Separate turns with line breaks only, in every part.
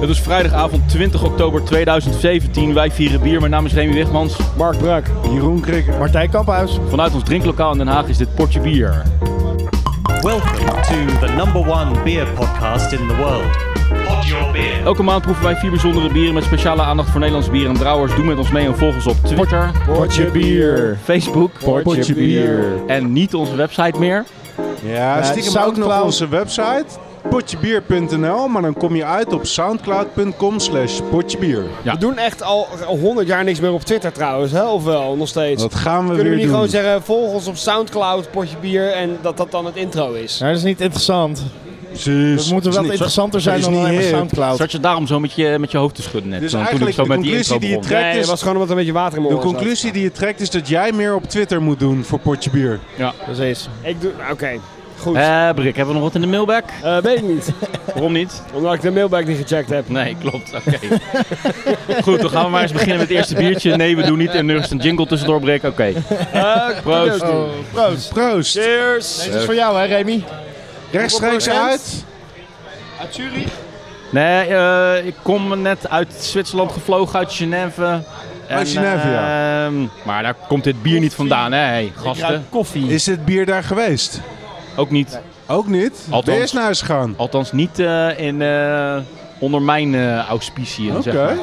Het is vrijdagavond 20 oktober 2017. Wij vieren bier. Mijn naam is Remy Wigmans.
Mark Brak, Jeroen Krikker.
Martijn Kamphuis.
Vanuit ons drinklokaal in Den Haag is dit Portje Bier.
Welcome to the number one beer podcast in the world. Pod Your Beer.
Elke maand proeven wij vier bijzondere bieren met speciale aandacht voor Nederlands bier en brouwers. Doe met ons mee en volg ons op Twitter,
Potje bier.
Facebook
Potje bier.
en niet onze website meer.
Ja, Nou, stiekem ook
Soundcloud.
nog onze website. Potjebier.nl, maar dan kom je uit op soundcloud.com slash potjebier.
Ja.
We doen echt al al 100 jaar niks meer op Twitter trouwens, hè? of wel, nog steeds.
Dat gaan we
Kunnen we
weer
niet
doen.
gewoon zeggen, volg ons op Soundcloud, potje bier en dat dat dan het intro is?
Nou, dat is niet interessant.
Precies.
We moeten
Is
wel
niet-
interessanter
dat
zijn
is
dan
niet
alleen maar
hip.
Soundcloud.
Zat je daarom zo met je, met je hoofd te schudden net?
Dus
zo, toen ik
eigenlijk
zo
de
met die
conclusie
intro
die je
begon.
trekt
Nee,
is-
dat was gewoon omdat er een beetje water in mijn
De
oren zat.
conclusie die je trekt is dat jij meer op Twitter moet doen voor potje bier.
Precies.
Ik doe, oké, goed. Eh
Eh, Brik, hebben we nog wat in de mailbag?
weet ik niet,
Waarom niet?
omdat ik de mailbag niet gecheckt heb.
Nee, klopt. Oké. Goed, dan gaan we maar eens beginnen met het eerste biertje. Nee, we doen niet en nergens een jingle tussendoor breken. Oké.
Eh,
Proost.
Oh, proost.
Proost.
cheers!
Dit is voor jou, hè, Remy?
Rechtstreeks
Hoeveel
uit.
Uit Zurich.
Nee, eh, ik kom net uit Zwitserland gevlogen, uit Genève. En,
Genève, ja.
ehm, maar daar komt dit bier niet vandaan, hè, hey, gasten?
koffie.
Is dit bier daar geweest?
Ook niet.
Ook niet.
Althans.
Ben je eens naar huis gegaan?
Althans, niet eh, in, eh, onder mijn eh auspiciën,
Oké.
zeg maar.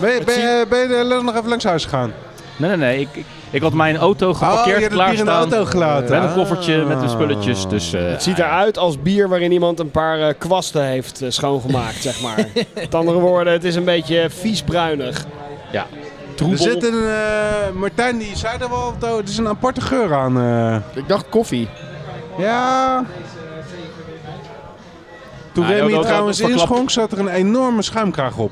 Ben, je- ben, je- ben je de- nog even langs huis gegaan?
Nee, nee, nee. Ik, ik, ik had mijn auto
Oh, je
geparkeerd,
hebt het bier in de
klaarstaan.
auto gelaten.
Met een koffertje, met de spulletjes. Dus, eh,
Het ziet eruit als bier waarin iemand een paar eh, kwasten heeft eh, schoongemaakt, zeg maar. Met andere woorden, het is een beetje eh, vies bruinig.
ja.
Er
Troebel.
zit een, eh, Martijn die zei er wel, oh, er is een aparte geur aan. eh.
Ik dacht koffie.
Ja. Toen
Ja,
Remy
Nou, dat- dat-
trouwens
dat verklapt-
inschonk, zat er een enorme schuimkraag op.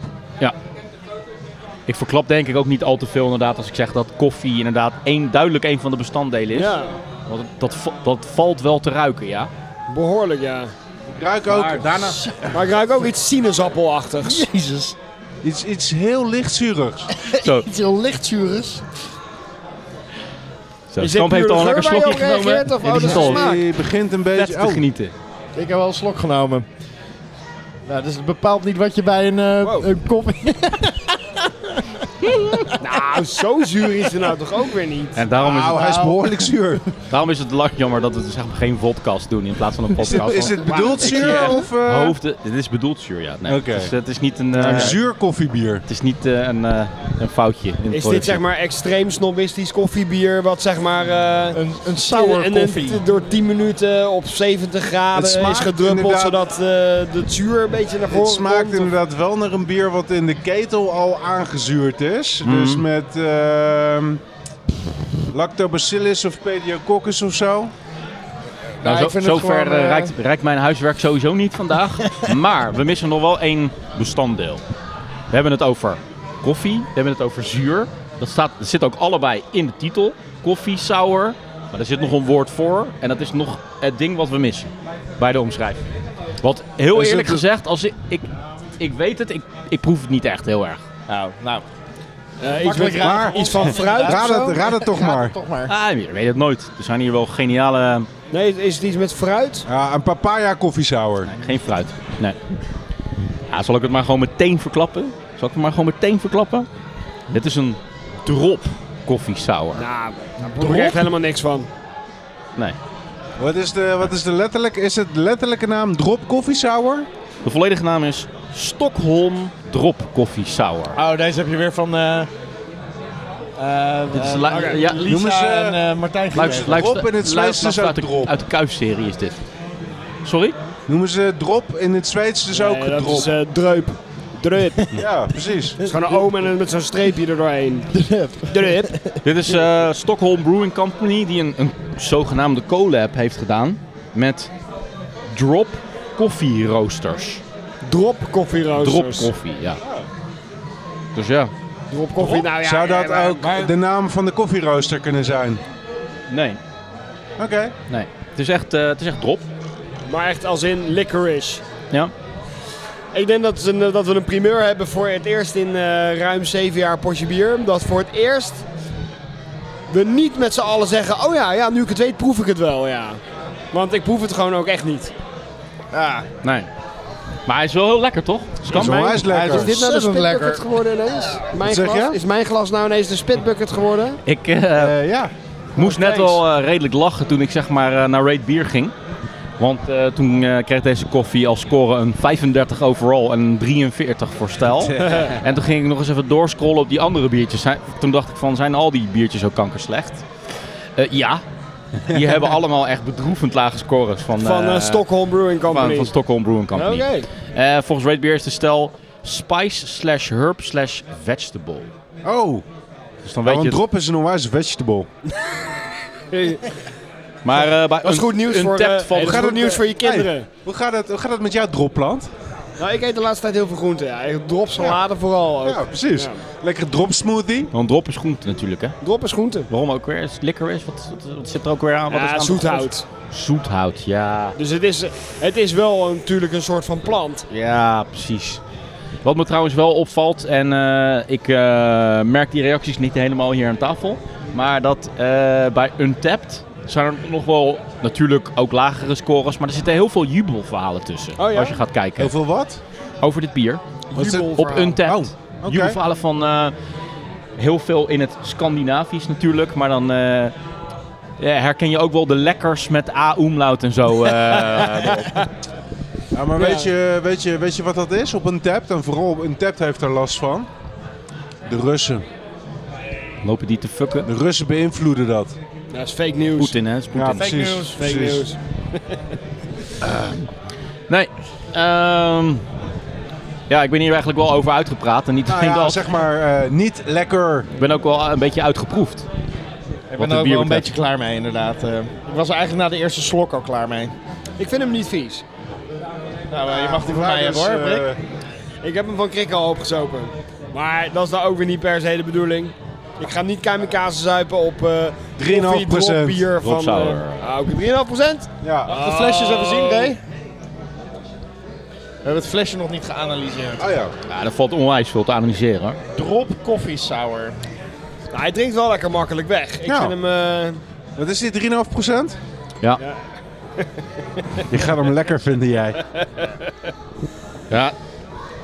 Ik verklap denk ik ook niet al te veel inderdaad als ik zeg dat koffie inderdaad één, duidelijk een van de bestanddelen is.
Ja,
Want het- dat, va- dat valt wel te ruiken, ja.
behoorlijk ja.
Ik ruik ook
Maar daarna...
Maar ik ruik ook iets sinaasappelachtigs.
Jezus.
iets, iets heel lichtzurigs.
Zo,
Iets heel lichtzuurs.
zo.
dit
Skamp heeft
puur
al een
de
lekker
geur waar
slokje
je op
genomen.
reageert, of
En
oh,
die zit
dat is
al
smaak?
Die begint een
vet
beetje...
te
Oh,
genieten.
Ik heb wel een slok genomen. Nou, dus het bepaalt niet wat je bij een, eh,
Wow.
een koffie...
nou, zo zuur is het nou toch ook weer niet?
En daarom is,
Auw, Nou, hij
het,
is behoorlijk zuur.
daarom is het lak jammer dat we zeg maar, geen vodcast doen in plaats van een
Is dit,
podcast.
is dit bedoeld
zie
zuur
echt
of... eh,
Hoofden, dit is bedoeld zuur, ja. Nee,
Oké.
het, is, het is niet een, eh,
een zuur koffiebier.
het is niet, eh, een, eh, een foutje. In het
Is dit
productie.
zeg maar extreem snobistisch koffiebier wat zeg maar... eh,
Een, een sour
in- in-
koffie.
t- door 10 minuten op 70 graden
Het smaakt
is gedruppeld
inderdaad-
zodat eh het zuur een beetje naar voren
Het smaakt
komt.
inderdaad wel naar een bier wat in de ketel al aangezuurd is. Dus
Mm.
met ehm, lactobacillus of pediococcus of zo.
Nou,
Ja,
zo,
ik vind het
zover
gewoon,
eh,
eh,
reikt, reikt mijn huiswerk sowieso niet vandaag. maar we missen nog wel één bestanddeel. We hebben het over koffie, we hebben het over zuur. Dat, staat, dat zit ook allebei in de titel. Koffie, sour. Maar er zit nog een woord voor. En dat is nog het ding wat we missen bij de omschrijving. Wat heel
Dus
eerlijk
het-
gezegd, als ik, ik, ik weet het, ik, ik proef het niet echt heel erg.
Nou, nou.
Eh, iets, met,
raar.
iets van fruit of
Raad
zo?
het, raad het toch maar.
Toch maar.
Ah, je weet het nooit. Er zijn hier wel geniale...
Nee, is het iets met fruit?
Ja, een papaya koffiesauer.
Geen fruit. Nee. Ja, zal ik het maar gewoon meteen verklappen? Zal ik het maar gewoon meteen verklappen? Dit is een drop koffie sour.
Nou, daar proef ik echt helemaal niks van.
Nee.
Wat is de, wat is de letterlijke, is het de letterlijke naam drop koffiesauer?
De volledige naam is Stockholm Drop Koffie Sour.
Oh, deze heb je weer van... eh eh,
Dit is
eh,
la-
Mark-
ja,
Lisa
noem eens, eh,
en eh, Martijn
Luister,
gekregen.
luister,
drop en
luister-
het Zweeds is
luister
ook
uit de,
drop.
Uit de kuifserie is dit. Sorry?
Noemen ze drop in het Zweeds dus ook
Nee, dat
drop.
is eh, dreup. Drup. Het
Ja, precies.
is gewoon een oom en een- met zo'n streepje er doorheen. Drup.
Dit is eh Stockholm Brewing Company die een, een zogenaamde collab heeft gedaan met Drop Koffie Roasters.
Drop koffieroosters.
Drop Koffie, ja. Dus ja,
Drop koffie, nou ja.
Zou dat
ja, maar-
ook de naam van de koffierooster kunnen zijn?
nee.
Oké.
Nee, het is echt, eh, het is echt drop.
Maar echt als in licorice.
Ja.
Ik denk dat, ze- dat we een primeur hebben voor het eerst in eh, ruim zeven jaar potje bier. Dat voor het eerst we niet met z'n allen zeggen, oh ja, ja, nu ik het weet proef ik het wel, ja. Want ik proef het gewoon ook echt niet.
Nee. Maar hij is wel heel lekker, toch? Scam.
Zo, hij is lekker.
Is dit nou de
Ontzettend
spitbucket
lekker.
geworden ineens? Mijn
zeg
glas,
je?
Is mijn glas nou ineens de spitbucket geworden?
Ik eh,
Eh, ja.
moest net wel eh, redelijk lachen toen ik zeg maar eh, naar Raid Bier ging. Want eh, toen eh, kreeg deze koffie als score een 35 overall en een 43 voor stijl. en toen ging ik nog eens even doorscrollen op die andere biertjes. Zijn- Toen dacht ik van, zijn al die biertjes ook kankerslecht? Eh, ja. Die hebben allemaal echt bedroevend lage scores van,
Van eh,
eh,
Stockholm Brewing
van,
Company.
van Stockholm Brewing
Oké.
Company. Eh, volgens Red Beer is de stijl spice slash herb slash vegetable.
Oh,
Dus dan weet
nou, een
je het.
drop is een onwijs vegetable.
Maar eh, bij
Dat is goed nieuws voor,
Untappd
eh,
valt
dat is
het-
goed nieuws voor je kinderen.
Hey, hoe, gaat het, hoe gaat het met jouw dropplant?
Nou, ik eet de laatste tijd heel veel groenten. Ja. Ik Drop salade vooral ook.
Ja, precies.
Ja.
Lekkere drop smoothie.
Want drop is groente natuurlijk, hè?
Drop is groente.
Waarom ook weer? Is het likker is? Wat, wat- wat zit er ook weer aan? Wat is
Ja,
aan de grond?
zoethout.
Zoethout, ja.
Dus het is, het is wel een- natuurlijk een soort van plant.
Ja, precies. Wat me trouwens wel opvalt, en eh, ik eh, merk die reacties niet helemaal hier aan tafel, maar dat eh, bij Untapped zijn er nog wel natuurlijk ook lagere scores, maar er zitten heel veel jubelverhalen tussen.
Oh ja?
Als je gaat kijken
Heel veel wat?
over dit bier.
Wat is het?
Op Untapped.
Oh, oké.
Jubelverhalen van eh, heel veel in het Scandinavisch natuurlijk, maar dan eh, ja, herken je ook wel de lekkers met A-umlaut en zo. eh, erop.
Ja, maar
Ja.
Weet, je, weet, je, weet je wat dat is op een tap? En vooral op een tap heeft er last van. De Russen.
Lopen die te fucken?
De Russen beïnvloeden dat.
Dat is fake nieuws.
Poetin, hè? is Poetin.
Ja, precies.
Fake
precies.
nieuws.
Nee. ehm, ja, ik ben hier eigenlijk wel over uitgepraat. En niet
Nou
alleen
ja,
dat.
zeg maar eh, niet lekker.
Ik ben ook wel een beetje uitgeproefd.
Ik
Wat
ben
het
er ook
bier
wel
betreft.
een beetje klaar mee, inderdaad. Eh, ik was er eigenlijk na de eerste slok al klaar mee.
Ik vind hem niet vies.
Nou, eh, je mag die van
Maar
mij
dus,
hebben hoor,
eh,
Brik.
Ik heb hem van Krikken al opgezopen. Maar dat is nou ook weer niet per se de bedoeling. Ik ga niet kamikaze zuipen op eh
3,5%
koffie, drop bier van... eh,
Sauer.
ah, oké, Oh. 3,5%?
ja.
Mag ik de flesjes even zien, Ray? We hebben het flesje nog niet geanalyseerd.
Oh ja.
Ja, dat valt onwijs veel te analyseren. hoor.
Drop koffie sour.
Nou, hij drinkt wel lekker makkelijk weg. Ik
Ja.
vind hem... eh,
Wat is dit, 3,5 procent?
Ja.
Je gaat hem lekker vinden, jij.
ja.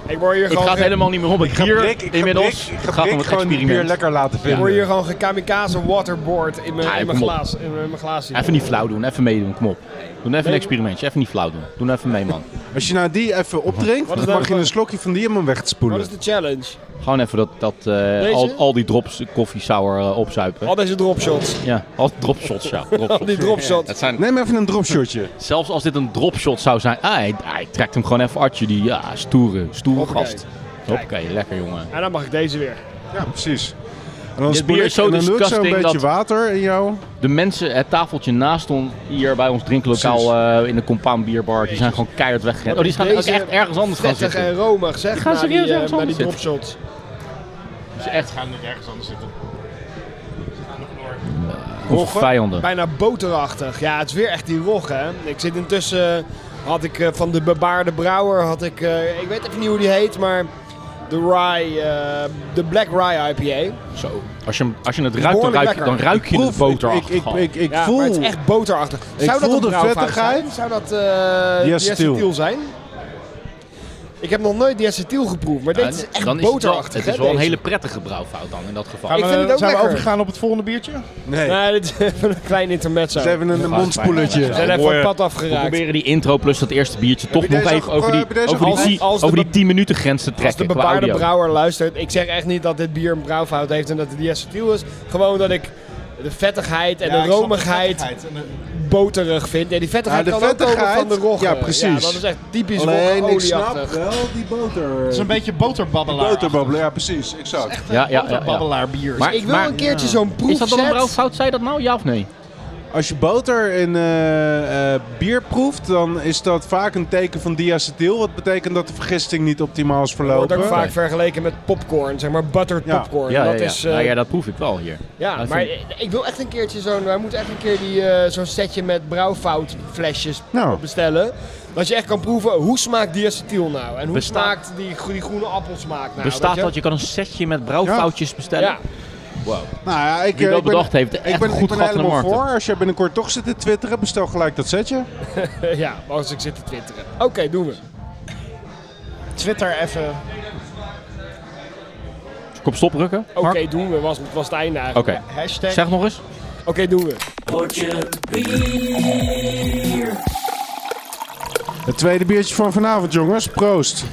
ik word hier
Het
gewoon...
gaat
ge-
helemaal niet meer om. Het bier
Brik- ik ga
inmiddels
Brik- ik ga
gaat om
Brik
het
gewoon die
experiment.
bier lekker laten
Ik word
vinden.
hier gewoon gekamikaze waterboard in mijn,
Ah,
in mijn
kom op.
glaas. In mijn glaasje.
Even niet flauw doen. Even meedoen. Kom op. Doe even een experimentje. Even niet flauw doen. Doe nou even mee, man.
Als je nou die even opdrinkt,
Wat
dan
is nou
mag je
de-
een slokje van die om hem weg te
Wat
spoelen.
is de challenge?
Gewoon even dat, dat, eh,
Deze?
al, al die drops koffie sour eh, opzuipen.
Al deze dropshots.
Ja, al dropshots, ja. Dropshots.
Al die dropshots.
Dat zijn,
Neem even een dropshotje.
zelfs als dit een dropshot zou zijn. Ah, hij, hij trekt hem gewoon even artje, die ja, stoere, stoere
Hoppakee.
gast. Oké, lekker jongen.
En dan mag ik deze weer.
Ja, precies. En dan
Dit
spoel
bier
ik,
is zo
en dan doe ik zo een
disgusting
beetje
dat-
water in jou.
De mensen, het tafeltje naast ons hier bij ons drinklokaal eh, in de compound bierbar, die zijn gewoon keihard weggerend. Oh, die zijn ook
Deze
echt ergens anders gaan
Vettig
zitten.
en romig, zeg.
gaan
na
serieus
die, eh,
ergens
na
anders
die
zitten.
dropshots.
Dus echt
gaan niet ergens anders zitten.
Eh, onze vijanden.
Bijna boterachtig. Ja, het is weer echt die rog, hè. Ik zit intussen... eh, Had ik eh, van de bebaarde brouwer, had ik... eh, ik weet even niet hoe die heet, maar... De rye, eh, de Black Rye IPA.
Zo. Als je, hem- als je het ruikt, dan
behoorlijk
ruik je, dan
lekker.
ruik je de
Proef, ik-
boter
Ik, ik, ik, ik
Ja,
voel...
maar het is echt boterachtig. Zou
voel
dat
de
een brouwfout
vettigheid.
zijn? Zou dat eh
Yes,
diacetyl
Steel.
zijn? Ik heb nog nooit diacetyl geproefd, maar dit is echt
dan is het wel,
boterachtig.
het
hè,
is wel een
deze.
hele prettige brouwfout dan in dat geval.
Gaan
Ik
we,
vind het
Eh,
ook
zijn we
lekker.
overgegaan op het volgende biertje?
Nee,
Nee, dit is even een klein intermezzo.
het is
We
even een mondspoeletje.
zijn even van het pad afgeraakt.
proberen die intro plus dat eerste biertje toch
je
nog
deze
even
ook-
over die,
heb je deze
over die,
ook als-
tien-
als de
over die
be-
10 minuten grens te
Als
trekken
de
qua
bebaarde
audio.
brouwer luistert, ik zeg echt niet dat dit bier een brouwfout heeft en dat het diacetyl is. Gewoon dat ik de vettigheid en de romigheid boterig vind. En die vettigheid
Ja, de
kan ook komen
vettigheid,
van de rogge.
ja, precies.
dat is echt typisch
Alleen, ik
roggeolieachtig.
snap wel die boter...
Het is een beetje boterbabbelaar.
boterbabbelen, ja precies, exact.
ja, ja, ja, ja.
Boterbabbelaar bier.
Maar-
Ik wil een keertje zo'n proefset.
Is dat dan een brouwfout? Zei je dat nou, ja of nee?
Als je boter in eh, eh, bier proeft, dan is dat vaak een teken van diacetyl. Wat betekent dat de vergisting niet optimaal is
Wordt ook
verlopen.
Oké.
vaak vergeleken met popcorn, zeg maar buttered
Ja.
popcorn.
Ja,
dat
ja, ja.
is. eh,
Nou
ja,
ja, dat proef ik wel hier. dat
maar
vind
ik- ik wil echt een keertje zo'n. Wij moeten echt een keer die, eh, zo'n setje met brouwfoutflesjes
Nou.
bestellen. Dat je echt kan proeven hoe smaakt diacetyl nou en hoe
Besta-
smaakt die, gro- die groene appelsmaak nou.
Bestaat
weet
dat? Je kan een setje met brouwfoutjes bestellen.
Ja,
Nou ja, ik,
Wie
eh,
dat
ik ben,
bedacht heeft, echt
ik ben,
een
ik
goed
ben
gat in de
helemaal
markt.
voor. Als jij binnenkort toch zit te twitteren, bestel gelijk dat setje.
ja, als ik zit te twitteren. Oké, doen we.
Twitter even.
Kop stoprokken,
Oké,
Mark?
doen we, was, was het einde eigenlijk.
Oké.
Hashtag.
Zeg nog eens.
Oké, doen we.
Het tweede biertje van vanavond, jongens. Proost.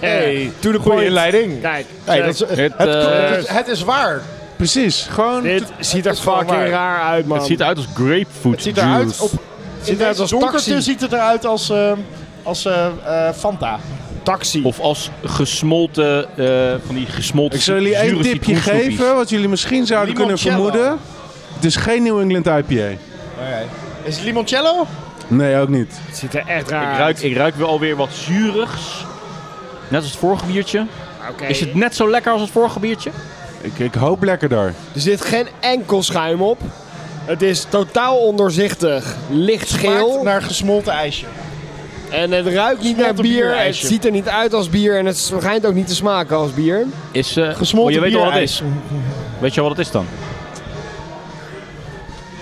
Hey,
to the
point.
inleiding.
Kijk,
Hey,
check.
dat is, het,
Het, eh,
het is- het is waar.
Precies, gewoon...
dit ziet er
is gewoon
fucking
waar.
raar uit, man.
Het ziet eruit als grapefruit
Het ziet
juice.
eruit op,
ziet eruit als
donkerte
taxi.
ziet het eruit als, eh, als eh, eh, Fanta.
taxi.
Of als gesmolten, eh, van die gesmolten
Ik zal jullie
zure
één tipje
citroensnoepjes.
geven, wat jullie misschien zouden kunnen
Limoncello.
vermoeden. Het is geen New England IPA.
Is het limoncello?
Nee, ook niet.
het ziet er echt raar
Ik
uit.
ruik, ik ruik wel alweer wat zurigs. Net als het vorige biertje.
Oké.
Is het net zo lekker als het vorige biertje?
Ik, ik hoop lekkerder.
Er zit geen enkel schuim op. Het is totaal ondoorzichtig. Licht
Maakt
geel.
naar gesmolten ijsje.
En het ruikt niet naar
Gesmolten
bier. Het
bierijsje.
ziet er niet uit als bier. En het schijnt ook niet te smaken als bier.
Is, eh,
Gesmolten
oh, je weet al wat het
bierijs.
is. Weet je al wat het is dan?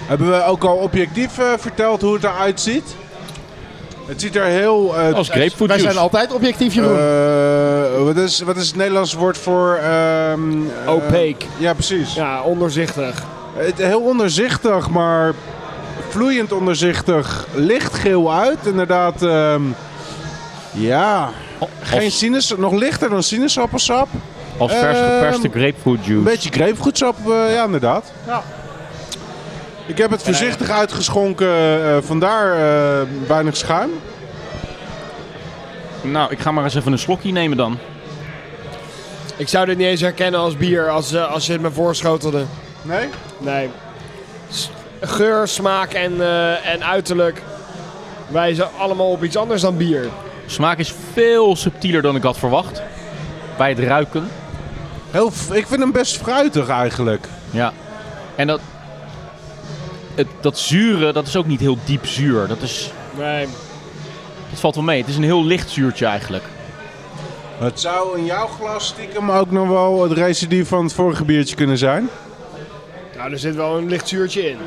Hebben we ook al objectief eh, verteld hoe het eruit ziet? Het ziet er heel... eh,
Als grapefruit
Wij zijn
juice.
altijd objectief, Jeroen.
eh, wat, is, wat is het Nederlands woord voor... ehm, eh,
Opaque.
Ja, precies.
Ja, ondoorzichtig.
Het, heel onderzichtig, maar vloeiend onderzichtig. Lichtgeel uit, inderdaad. ehm, ja, geen
Als,
sinaasappel, nog lichter dan sinaasappelsap.
als vers
Ehm,
geperste grapefruit
Een
juice.
beetje grapefruitsap, eh, ja inderdaad.
Ja.
Ik heb het voorzichtig uitgeschonken, eh, vandaar eh, weinig schuim.
Nou, ik ga maar eens even een slokje nemen dan.
Ik zou dit niet eens herkennen als bier als, eh, als je het me voorschotelde.
Nee?
Nee. S- Geur, smaak en, eh, en uiterlijk wijzen allemaal op iets anders dan bier.
Smaak is veel subtieler dan ik had verwacht. Bij het ruiken.
Heel, f- ik vind hem best fruitig eigenlijk.
Ja. En dat, het, dat zure, dat is ook niet heel diep zuur. Dat, is,
Nee.
dat valt wel mee. Het is een heel licht zuurtje eigenlijk.
Het zou in jouw glas stiekem ook nog wel het residu van het vorige biertje kunnen zijn.
Nou, er zit wel een licht zuurtje in.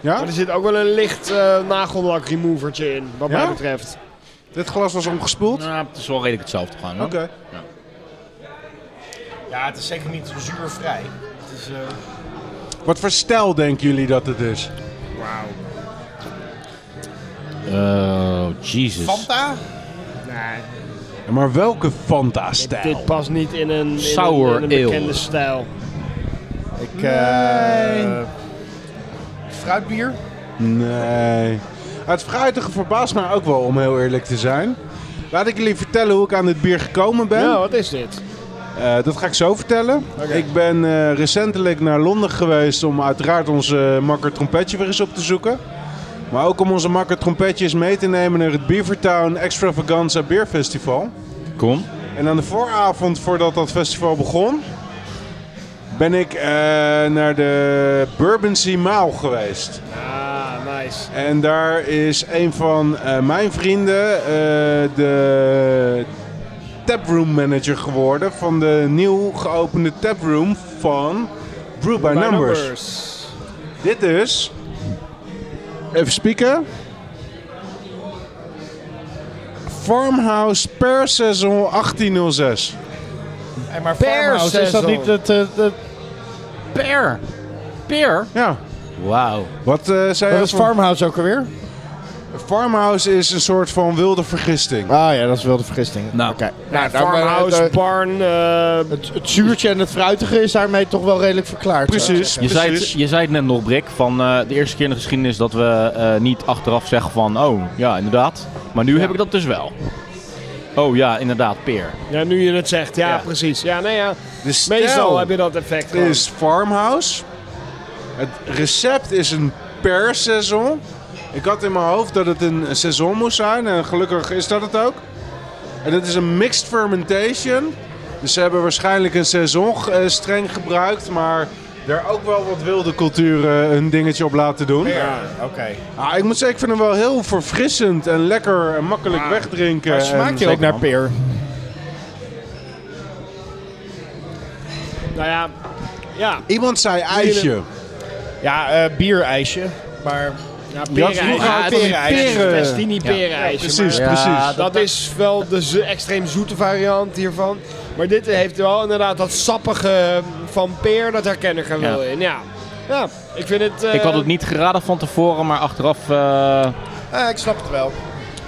Ja?
Maar er zit ook wel een licht eh nagellak removertje in, wat
Ja?
mij betreft.
Dit glas was omgespoeld?
Nou, het is wel redelijk hetzelfde gewoon.
Oké.
hoor.
Ja, het is zeker niet zuurvrij. eh,
Wat voor stijl denken jullie dat het is?
Oh, Jesus.
Fanta?
Nee.
Maar welke
Dit,
Fanta-stijl?
dit past niet in een, in
Sour
een,
ale.
in een bekende stijl.
Ik, eh, Fruitbier?
Nee. Het fruitige verbaast mij ook wel, om heel eerlijk te zijn. Laat ik jullie vertellen hoe ik aan dit bier gekomen ben.
Ja, wat is dit?
Eh, dat ga ik zo vertellen. Ik ben eh, recentelijk naar Londen geweest om uiteraard onze makker trompetje weer eens op te zoeken. Maar ook om onze makker trompetjes mee te nemen naar het Beavertown Extravaganza Beer Festival.
Kom.
En aan de vooravond voordat dat festival begon, ben ik eh, naar de Bourbon Sea Maal geweest.
Ah, nice.
En daar is een van eh, mijn vrienden eh, de taproom manager geworden van de nieuw geopende taproom van Brew by,
By
Numbers. Dit is. Even spieken. Farmhouse per seizoen 1806.
En maar
Per
Farmhouse, is dat
seizoen.
niet het... eh, het-
Peer. Peer?
Ja.
Wauw.
Wat eh, zei
dat
je?
is
van-
Farmhouse ook alweer?
Farmhouse is een soort van wilde vergisting.
Ah ja, dat is wel de vergisting.
Nou.
Oké.
Ja,
nou, daar-
farmhouse,
eh,
barn, eh,
het, het zuurtje en het fruitige is daarmee toch wel redelijk verklaard. zou ik
Precies.
zeggen.
Je zei, het,
Precies.
je zei het net nog, Brik, van eh, de eerste keer in de geschiedenis dat we eh, niet achteraf zeggen van, oh, ja, inderdaad. Maar nu heb ik dat dus wel. Oh ja, inderdaad, peer.
ja, nu je het zegt. Ja,
Ja.
precies. Ja, nee, ja.
De stijl
Meestal heb je dat effect gewoon.
is Farmhouse. Het recept is een per seizoen. Ik had in mijn hoofd dat het een seizoen moest zijn. En gelukkig is dat het ook. En het is een mixed fermentation. Dus ze hebben waarschijnlijk een seizoen eh, streng gebruikt. Maar daar ook wel wat wilde culturen hun dingetje op laten doen.
Ja, oké.
Ah, ik moet zeggen, ik vind hem wel heel verfrissend en lekker en makkelijk wegdrinken.
Ah. Maar smaakt je
en-
ook naar peer?
Nou ja, ja.
Iemand zei ijsje.
Ja, eh bierijsje. Maar
Ja,
had vroeger
perenijs.
ook
die
perenijs.
peren.
Festini perenijs.
Precies,
Ja,
precies.
Dat is wel de zo- extreem zoete variant hiervan. Maar dit heeft wel inderdaad dat sappige ehm, van peer, dat herken ik er wel
Ja.
in. Ja. ja, ik vind het... eh,
Ik had het niet geraden van tevoren, maar achteraf... eh,
Ah, ik snap het wel.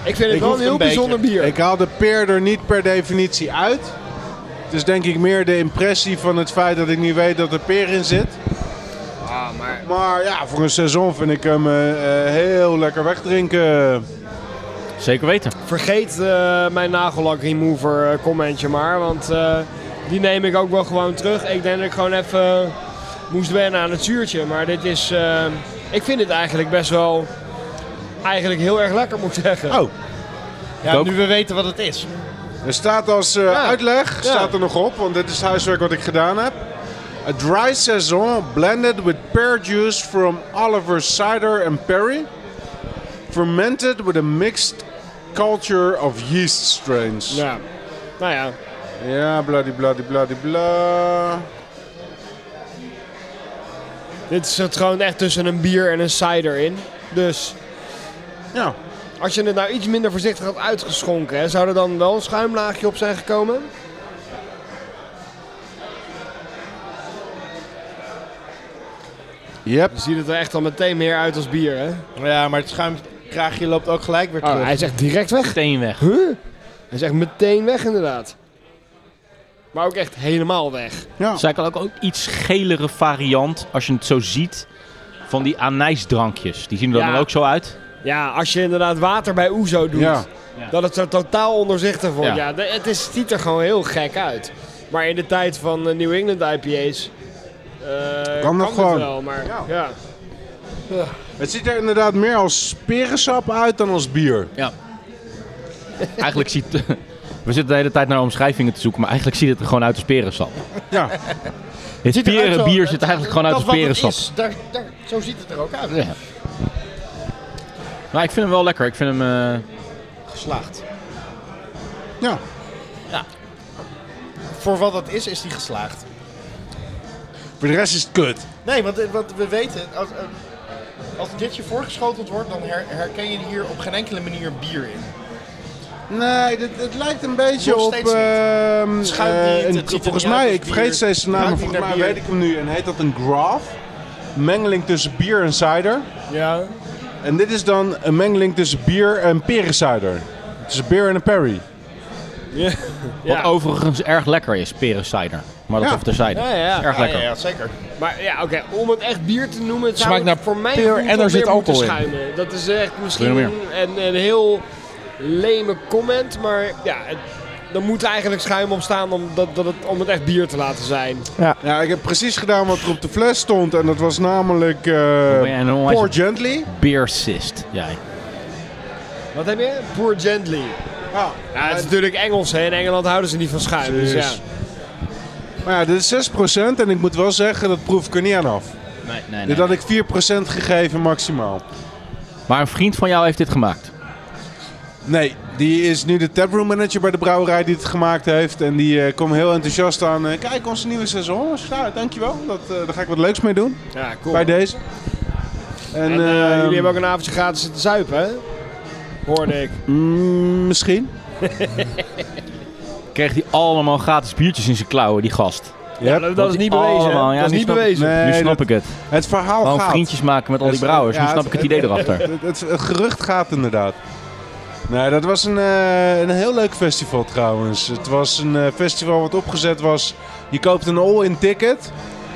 ik vind het
ik
wel een
hoef
heel
een beetje.
bijzonder bier.
Ik haal de peer er niet per definitie uit. Het is denk ik meer de impressie van het feit dat ik niet weet dat er peer in zit.
Ah, maar...
Maar ja, voor een seizoen vind ik hem eh, eh, heel lekker wegdrinken.
zeker weten.
Vergeet eh, mijn nagellak remover eh, commentje maar, want eh, die neem ik ook wel gewoon terug. Ik denk dat ik gewoon even moest wennen aan het zuurtje. Maar dit is... eh, ik vind het eigenlijk best wel... Eigenlijk heel erg lekker moet ik zeggen.
Oh.
Ja,
ook.
nu we weten wat het is.
Er staat als eh,
Ja.
uitleg,
Ja.
staat er nog op, want dit is huiswerk wat ik gedaan heb. A dry saison blended with pear juice from Oliver's Cider and Perry. Fermented with a mixed culture of yeast strains. Ja,
Ja. Nou ja.
ja bladibladibladibla.
Dit zit gewoon echt tussen een bier en een cider in. Dus
Ja,
als je het nou iets minder voorzichtig had uitgeschonken, hè, zou er dan wel een schuimlaagje op zijn gekomen?
yep.
Dan ziet het er echt al meteen meer uit als bier, hè?
Ja, maar het schuimkraagje loopt ook gelijk weer terug.
Oh, hij is echt direct weg.
Meteen weg.
Huh? Hij is echt meteen weg, inderdaad. Maar ook echt helemaal weg.
Ja.
Het is eigenlijk ook een iets gelere variant, als je het zo ziet, van die anijsdrankjes. Die zien er
Ja.
dan ook zo uit.
Ja, als je inderdaad water bij Oezo doet,
Ja.
dat het zo totaal onderzichtig wordt. Ja,
Ja.
de- het is, ziet er gewoon heel gek uit. Maar in de tijd van eh, New England IPA's... eh, kan
dat
het
gewoon.
wel, maar
Ja.
ja.
Het ziet er inderdaad meer als perensap uit dan als bier.
Eigenlijk ziet... We zitten de hele tijd naar omschrijvingen te zoeken, maar eigenlijk ziet het er gewoon uit als perensap.
Ja.
Het
eruit
peren,
zo-
bier
het-
zit eigenlijk gewoon uit
dat
als
wat het
perensap.
is, daar, daar, zo ziet het er ook uit.
Ja. Nou, ik vind hem wel lekker. Ik vind hem... eh,
Geslaagd.
ja.
Voor wat dat is, is die geslaagd.
Voor de rest is het kut.
Nee, want, eh, want we weten, als, eh, als dit je voorgeschoteld wordt, dan her- herken je hier op geen enkele manier bier in.
Nee, dit, het lijkt een beetje
Nog
op.
steeds niet.
ehm,
Schuimt
eh,
niet,
een-
het ziet er
volgens
niet uit
mij,
als
ik
bier.
vergeet steeds de naam,
Ruikt
maar
niet
volgens
naar
mij
bier.
weet ik hem nu. En heet dat een graph? Mengeling tussen bier en cider.
Ja.
En dit is dan een mengeling tussen bier en perencider. Tussen bier en een perry.
Ja.
Wat overigens erg lekker is, perencider. Maar dat
Ja.
of terzijde.
Ja, ja, ja.
Is Erg lekker.
Ja, ja, zeker.
Maar ja, oké, om het echt bier te noemen, het
Smaakt
zou
naar
voor mij
peer
gevoel
en
toch
er zit
meer moeten
alcohol in.
schuimen. Dat is echt misschien
Wil je
een, een heel leme comment, maar ja, het, er moet eigenlijk schuim op staan om, dat, dat het, om het echt bier te laten zijn.
Ja, ik heb precies gedaan wat er op de fles stond. En dat was namelijk. eh
ben jij een onwijs-
Pour Gently.
Beersist, jij.
Wat heb je? Poor Gently.
Ja.
Ja, het is natuurlijk Engels, hè. In Engeland houden ze niet van schuim, dus ja.
Precies. Maar ja, dit is 6% en ik moet wel zeggen, dat proef ik er niet aan af.
Nee, nee,
Dit had ik 4% gegeven maximaal.
Maar een vriend van jou heeft dit gemaakt.
Nee, die is nu de taproom manager bij de brouwerij die het gemaakt heeft. En die eh kwam heel enthousiast aan. eh, Kijk, onze nieuwe seizoen. is klaar. dankjewel. Dat, eh, daar ga ik wat leuks mee doen.
Ja, cool.
Bij deze. En,
En eh,
ehm,
jullie hebben ook een avondje gratis zitten zuipen, hè? Hoorde ik.
mm, misschien.
Kreeg hij allemaal gratis biertjes in zijn klauwen, die gast.
Yep.
Dat,
Want
is
die
niet bewezen, hè.
allemaal, ja,
Dat is
nu
niet
snap ik-
bewezen.
Nee,
nu snap
dat-
ik het.
Het verhaal
Gewoon
gaat.
vriendjes maken met al die
Dus,
brouwers.
ja,
nu snap ik het idee erachter.
Het, het, het gerucht gaat inderdaad. Nee, dat was een, eh, een heel leuk festival trouwens. Het was een eh, festival wat opgezet was. Je koopt een all-in ticket.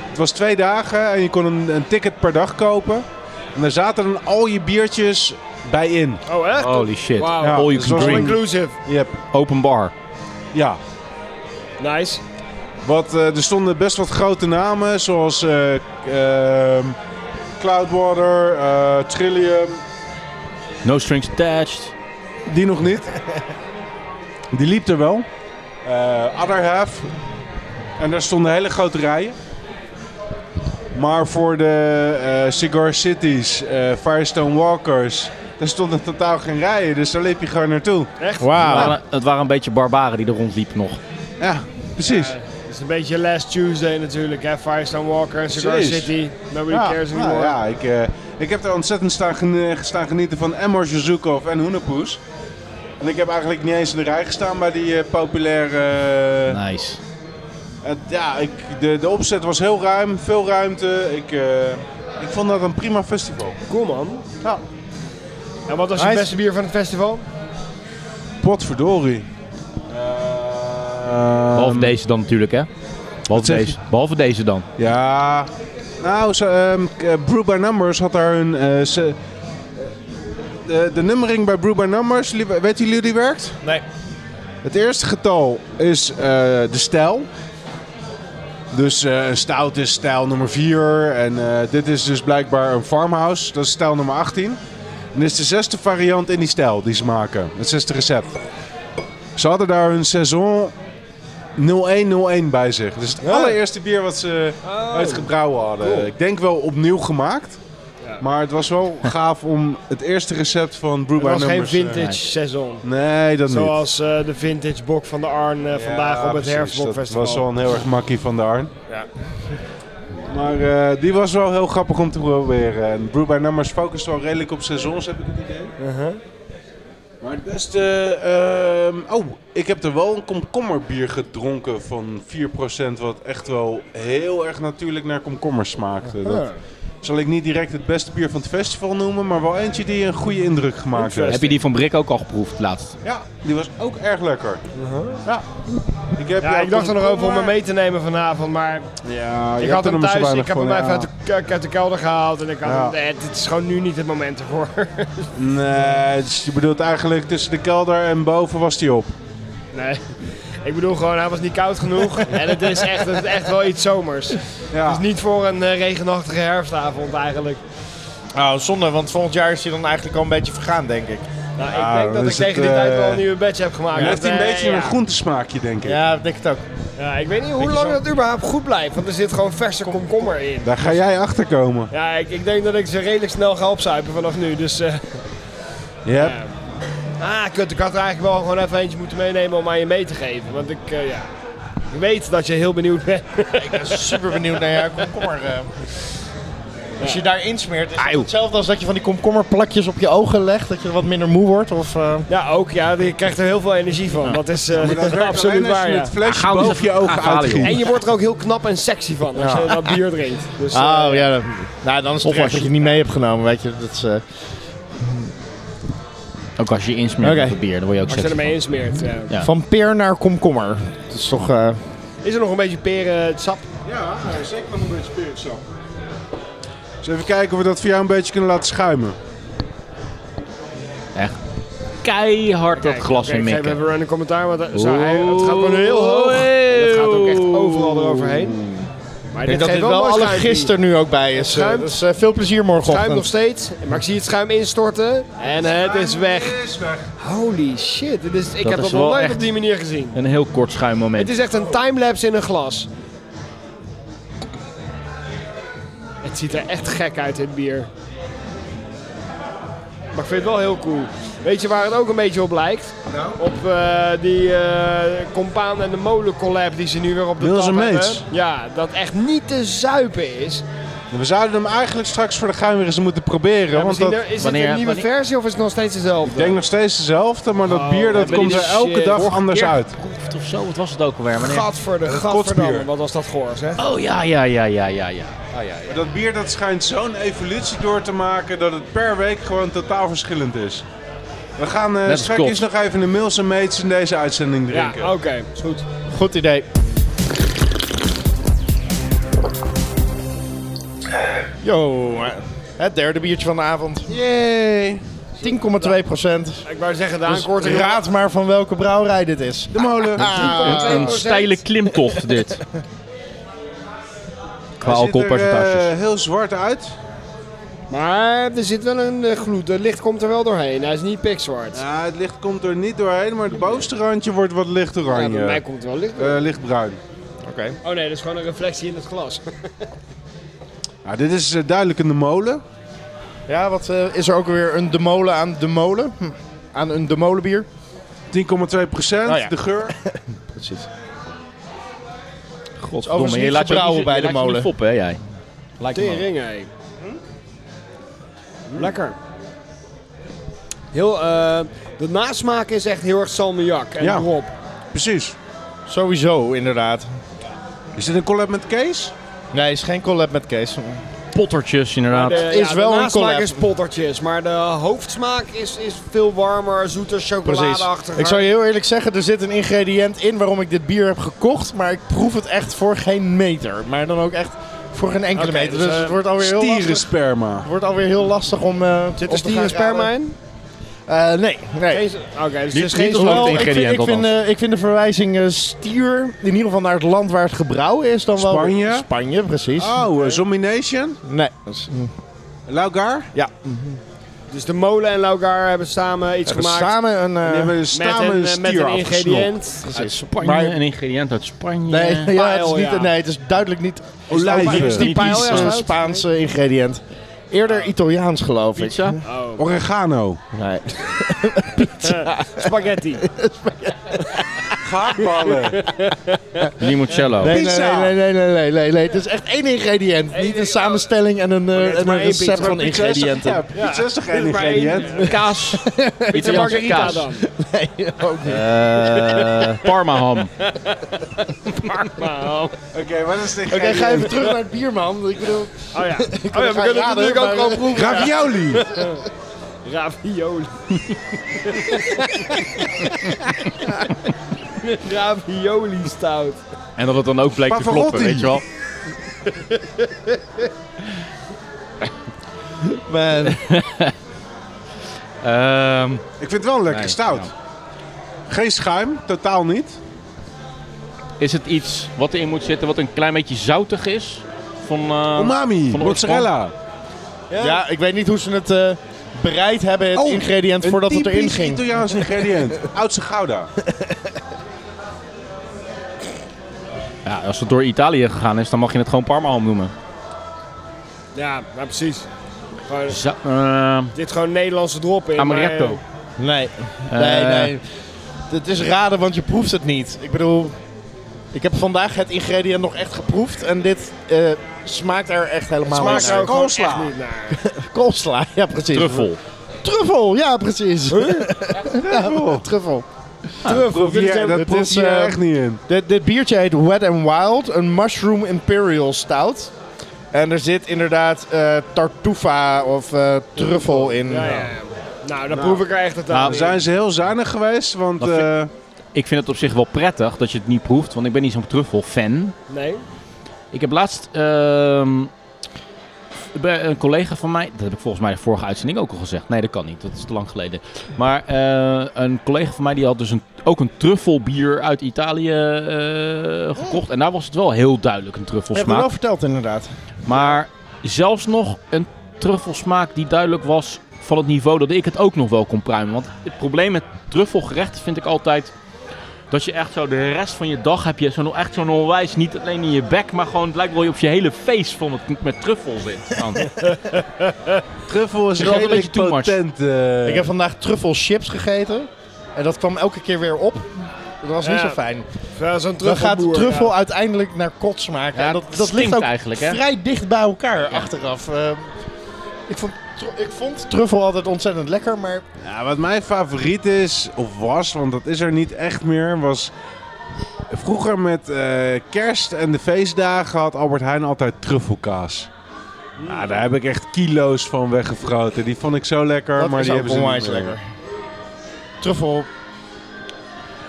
Het was twee dagen en je kon een, een ticket per dag kopen. En daar zaten dan al je biertjes bij in.
Oh, echt?
Holy shit.
Wauw.
Ja,
All you
dus
can
was wel
drink.
Inclusive.
Yep.
Open bar.
Ja,
Nice.
wat, eh, er stonden best wat grote namen zoals eh, k- ehm, Cloudwater, eh, Trillium,
No strings attached.
Die nog niet. Die liep er wel. Eh other half. En daar stonden hele grote rijen. Maar voor de eh, Cigar Cities, eh, Firestone Walkers, daar stonden totaal geen rijen. Dus daar liep je gewoon naartoe.
Echt?
Het waren- het waren een beetje barbaren die er rondliepen nog.
Ja, precies.
is een beetje Last Tuesday natuurlijk, hè? Firestone Walker en Cigar
Precies.
City. Nobody
Ja,
cares
nou
anymore.
ja, ik, eh, ik heb er ontzettend staan, gen- gestaan genieten van Emor Zhukov en Hoenepoes. En ik heb eigenlijk niet eens in de rij gestaan bij die eh, populaire... eh,
Nice.
het- ja, ik, de, de opzet was heel ruim, veel ruimte. Ik, eh, ik vond dat een prima festival.
Cool man.
Ja,
En wat was
Hij
je
is-
beste bier van het festival?
potverdorie.
Behalve
Ehm,
deze dan natuurlijk, hè? Behalve
zeg je?
deze. Behalve deze dan.
Ja. Nou, zo, ehm, k- eh, Brew by Numbers had daar hun. eh, ze- eh, de, de nummering bij Brew by Numbers, li- weten jullie hoe die werkt?
Nee.
Het eerste getal is eh, de stijl. Dus eh, een stout is stijl nummer 4. En eh, dit is dus blijkbaar een farmhouse. Dat is stijl nummer 18. En dit is de zesde variant in die stijl die ze maken. Het zesde recept. Ze hadden daar hun saison 0101 bij zich. Dus het allereerste bier wat ze
Oh.
uitgebrouwen hadden. Ik denk wel opnieuw gemaakt. Maar het was wel gaaf om het eerste recept van Brew
Het
by
was geen
Numbers... eh,
vintage seizoen.
nee, dat niet.
Zoals eh, de vintage bok van de Arn eh, vandaag
Ja,
op het
precies.
Herfstbokfestival.
Dat was wel een heel erg makkie van de Arn. Maar eh, die was wel heel grappig om te proberen. En Brew by Numbers focust wel redelijk op seizoens, heb ik het idee.
Uh-huh.
Maar het beste... ehm, oh, ik heb er wel een komkommerbier gedronken van 4%. Wat echt wel heel erg natuurlijk naar komkommers smaakte.
Uh-huh.
Dat zal ik niet direct het beste bier van het festival noemen. Maar wel eentje die een goede indruk gemaakt heeft.
Heb je die van Brik ook al geproefd laatst?
Ja, die was ook erg lekker. Ja. Ik, heb
Uh-huh. Ja,
jouw
ik dacht er nog over om
komkommer-
hem mee te nemen vanavond, maar
Ja, je
ik
hebt
had
er nog maar
hem
zo
thuis,
weinig
ik heb
van,
hem
ja.
even uit de, k- uit de kelder gehaald en ik had
Ja.
hem, nee, het is gewoon nu niet het moment ervoor.
Nee, dus je bedoelt eigenlijk tussen de kelder en boven was die op.
nee, ik bedoel gewoon, hij was niet koud genoeg en het is echt, het is echt wel iets zomers.
Ja.
Het is niet voor een eh, regenachtige herfstavond eigenlijk.
Nou, zonde, want volgend jaar is hij dan eigenlijk al een beetje vergaan, denk ik.
Nou,
Ja,
ik denk dat
dan
ik
is het,
tegen die tijd wel
eh,
een nieuwe badge heb gemaakt.
Hij heeft een
Eh,
beetje
ja.
een groentesmaakje, denk ik.
Ja, dat denk ik het ook.
Ja, ik weet niet hoe lang dat überhaupt goed blijft, want er zit gewoon verse komkommer in.
Daar ga jij achter komen.
Ja, ik, ik denk dat ik ze redelijk snel ga opzuipen vanaf nu. Dus, eh,
Yep.
Ja. ah, kut, ik had er eigenlijk wel gewoon even eentje moeten meenemen om aan je mee te geven. Want ik, eh, ja, ik weet dat je heel benieuwd bent.
Ik ben super benieuwd naar jouw komkommer. eh. Als je daar insmeert, is het hetzelfde als dat je van die komkommerplakjes op je ogen legt, dat je wat minder moe wordt? Of, eh,
ja, ook, ja, je krijgt er heel veel energie van. Dat is eh,
Dat werkt
absoluut
alleen als
waar,
je
ja.
het flesje
Gauw eens
boven je
even
ogen
afhalen,
uitgiet.
En je wordt er ook heel knap en sexy van als je dat bier drinkt. Dus, eh,
Oh ja, dat- nou, dan is het
Of
terecht
als
dat
je-
je niet mee hebt genomen, weet je. Dat is, eh,
Ook als je insmeert
Oké.
met het bier, dan word je ook
als je
sexy
ermee insmeert. ja.
Ja.
Van peer naar komkommer. Dat is toch... eh,
Is er nog een beetje peren, het sap?
Ja, zeker nog een beetje spiritsap. Dus even kijken of we dat voor jou een beetje kunnen laten schuimen.
van. Echt keihard dat glas
Oké,
in
Ik geef
mikken.
even een commentaar, want eh, zo, hij, het gaat gewoon heel hoog. En het gaat ook echt overal eroverheen. Maar
Ik denk
dit
dat
geeft
dit
wel,
wel
mooi
alle
schuimpie.
gisteren nu ook bij is. eh,
Schuim.
Dus eh, veel plezier
Schuim nog
morgenochtend.
steeds, maar ik zie het schuim instorten en het is weg.
is weg.
Holy shit, dit is, ik
is
heb dat nog
wel
nooit
echt-
op die manier gezien.
Een heel kort schuimmoment.
Het is echt een timelapse in een glas. Het ziet er echt gek uit, dit bier. Maar ik vind het wel heel cool. Weet je waar het ook een beetje op lijkt?
Nou?
Op eh, die eh, Compaan en de Molen collab die ze nu weer op de
Wilson
tap hebben.
Mates.
Ja, dat echt niet te zuipen is.
We zouden hem eigenlijk straks voor de geheim weer eens moeten proberen.
Ja,
want
misschien
dat,
er- is
wanneer-
het een nieuwe
wanneer-
versie of is het nog steeds dezelfde?
ik denk nog steeds dezelfde, maar dat
Oh,
bier dat
hebben
komt
die
er
dus,
elke
eh,
dag
vorige
anders uit.
Proeft of zo, wat was het ook alweer? Wanneer?
Gadverde,
kotsbier.
gadverdamme, wat was dat goor, zeg.
Oh ja, ja, ja, ja, ja, ja.
Dat bier dat schijnt zo'n evolutie door te maken dat het per week gewoon totaal verschillend is. We gaan eh
als
straks
klopt.
nog even de Mills en Mates in deze uitzending
Ja,
drinken.
oké, is goed.
Goed idee. Yo, eh, het derde biertje van de avond.
Yay!
10,2 procent.
Ik wou zeggen, de
Dus
aankorting...
raad maar van welke brouwerij dit is.
De molen.
Ah, Een, een steile klimtocht dit. Qua
Hij ziet er
alcoholpercentages.
eh, heel zwart uit.
Maar er zit wel een eh, gloed, het licht komt er wel doorheen. Hij is niet pikzwart. Ja,
Ja, het licht komt er niet doorheen, maar het bovenste randje wordt wat licht
bij
oranje.
mij komt er wel licht door.
Eh, lichtbruin.
Oké.
Oh nee, dat is gewoon een reflectie in het glas.
Nou, dit is eh, duidelijk in de molen.
Ja, wat eh, is er ook weer een de molen aan de molen? Hm, Aan een de molen bier?
10,2 procent.
Oh ja.
De geur.
Precies.
Godverdomme,
niet
je laat je ook
gebrouwen
niet-
bij
je
de
laat je ook
molen.
niet foppen, hè, jij. Lijkt me wel.
Tering, hé. Lekker. Heel, eh, de nasmaak is echt heel erg salmiak en
Ja.
drop.
Precies.
Sowieso, inderdaad.
Is dit een collab met Kees?
Nee, is geen collab met Kees.
Pottertjes, inderdaad.
De,
is
Eh, ja,
wel
de
een
nasmaak
collab.
is pottertjes, maar de hoofdsmaak is, is veel warmer, zoeter,
Precies.
chocoladeachtiger.
Ik zou je heel eerlijk zeggen, er zit een ingrediënt in waarom ik dit bier heb gekocht. Maar ik proef het echt voor geen meter. Maar dan ook echt voor geen enkele
Oké,
meter.
dus,
Dus,
eh,
het wordt alweer heel lastig.
Stierensperma.
Het wordt alweer heel lastig om. eh
Zit
om
er
te gaan
stierensperma
raden.
in?
Eh, nee, nee.
Deze- Oké,
Niet-
dus het is
niet
geen
als-
Hoewel,
het
ik vind,
ingrediënt
ik, vind, eh, ik vind de verwijzing eh, stier, in ieder geval naar het land waar het gebrouwen is, dan wel
Spanje?
Spanje, precies.
Oh, eh, Zomination?
Nee. dat is-
Laugar?
Ja,
Dus de molen en Laugar hebben samen iets
hebben
gemaakt
samen een... eh,
Die hebben
met
samen
een,
een
eh, met
stier
een
afgesnopt.
ingrediënt.
precies.
Uit Spanje,
Maar-
een ingrediënt uit Spanje.
Nee, ja, het is
Paella.
niet, nee, het is duidelijk niet...
Olijven.
Het is niet
Paella
iets,
is
eh,
het?
Spaanse ingrediënt. Eerder Italiaans, geloof ik.
Pizza?
Oregano.
Nee.
Spaghetti.
Gaakballen.
Limoncello.
Nee, nee,
Pizza.
nee, nee, nee, nee, nee, nee. Het is echt één ingrediënt. niet een samenstelling en een, eh,
het is
en
maar
een
één pizza,
recept
maar
van
pizza is toch-
ingrediënten.
Ja, pizza is toch geen
maar één,
ingrediënt?
Kaas.
Pizza margarita dan.
Eh, Parma ham.
Oké, wat is dit?
Oké, ga even terug naar het bier, man. Ik bedoel...
Oh
Oh
ja.
ja, we kunnen het natuurlijk ook gewoon proeven.
Ravioli.
Ravioli. Ravioli stout.
En dat het dan ook bleek te
Pavarotti.
kloppen, weet je wel. Ehm,
Ik vind het wel een lekker
Nee,
stout. Geen schuim, totaal niet.
is het iets wat erin moet zitten wat een klein beetje zoutig is? Van, eh,
Umami,
van de
mozzarella.
Ja, ik weet niet hoe ze het eh, bereid hebben, het
Oh,
ingrediënt,
Een
voordat het erin
typisch
ging.
Italiaans ingrediënt. Oudse Gouda.
Ja, als het door Italië gegaan is, dan mag je het gewoon Parma ham noemen.
Ja, ja, precies. Gewoon, er
Zou- eh,
zit gewoon Nederlandse drop in.
Amaretto.
maar, eh,
Nee, nee,
Eh.
nee. Het is raden, want je proeft het niet. Ik bedoel, ik heb vandaag het ingrediënt nog echt geproefd en dit eh, smaakt er echt helemaal
eh,
smaakt
niet
zou
naar.
ik gewoon
Koolsla.
echt niet naar.
Koolsla, ja precies.
truffel.
Truffel, ja precies. Ja, truffel.
Truffel.
Proef je- dat
het
proef
is,
je er
eh,
echt niet in.
Dit, dit biertje heet Wet and Wild, een Mushroom Imperial Stout. En er zit inderdaad eh, tartufa of eh, truffel in.
Ja, ja, ja. Nou, dan proef ik er echt het
Nou,
aan.
we
Zijn ze heel zuinig geweest, want
Dat vind-
eh,
Ik vind het op zich wel prettig dat je het niet proeft, want ik ben niet zo'n truffel-fan.
Nee?
Ik heb laatst ehm, bij een collega van mij, dat heb ik volgens mij de vorige uitzending ook al gezegd. Nee, dat kan niet, dat is te lang geleden. Maar eh, een collega van mij die had dus een, ook een truffelbier uit Italië eh, gekocht. En daar was het wel heel duidelijk een
Ik heb het wel
truffelsmaak.
verteld inderdaad.
Maar zelfs nog een truffelsmaak die duidelijk was van het niveau dat ik het ook nog wel kon pruimen. Want het probleem met truffelgerechten vind ik altijd dat je echt zo de rest van je dag heb je zo'n echt zo'n onwijs niet alleen in je bek, maar gewoon het lijkt wel je op je hele feest van het met truffel zit. Dan.
truffel is
Ik had een
redelijk
beetje too much.
potent. eh.
Ik heb vandaag truffelchips gegeten. En dat kwam elke keer weer op. Dat was niet
Ja.
zo fijn.
Ja, Zo'n
Dan gaat
truffelboer,
truffel uiteindelijk naar kot smaken.
Ja,
en
het
dat, dat
stinkt
ligt ook
eigenlijk, hè?
vrij dicht bij elkaar achteraf. Eh, ik, vond, tru- ik vond truffel altijd ontzettend lekker, maar
Ja, wat mijn favoriet is, of was, want dat is er niet echt meer, was... Vroeger met eh, kerst en de feestdagen had Albert Heijn altijd truffelkaas. Nou, daar heb ik echt kilo's van weggefroten. Die vond ik zo lekker,
dat
maar
is
die
ook
hebben ze
onwijs
niet meer.
lekker. Truffel.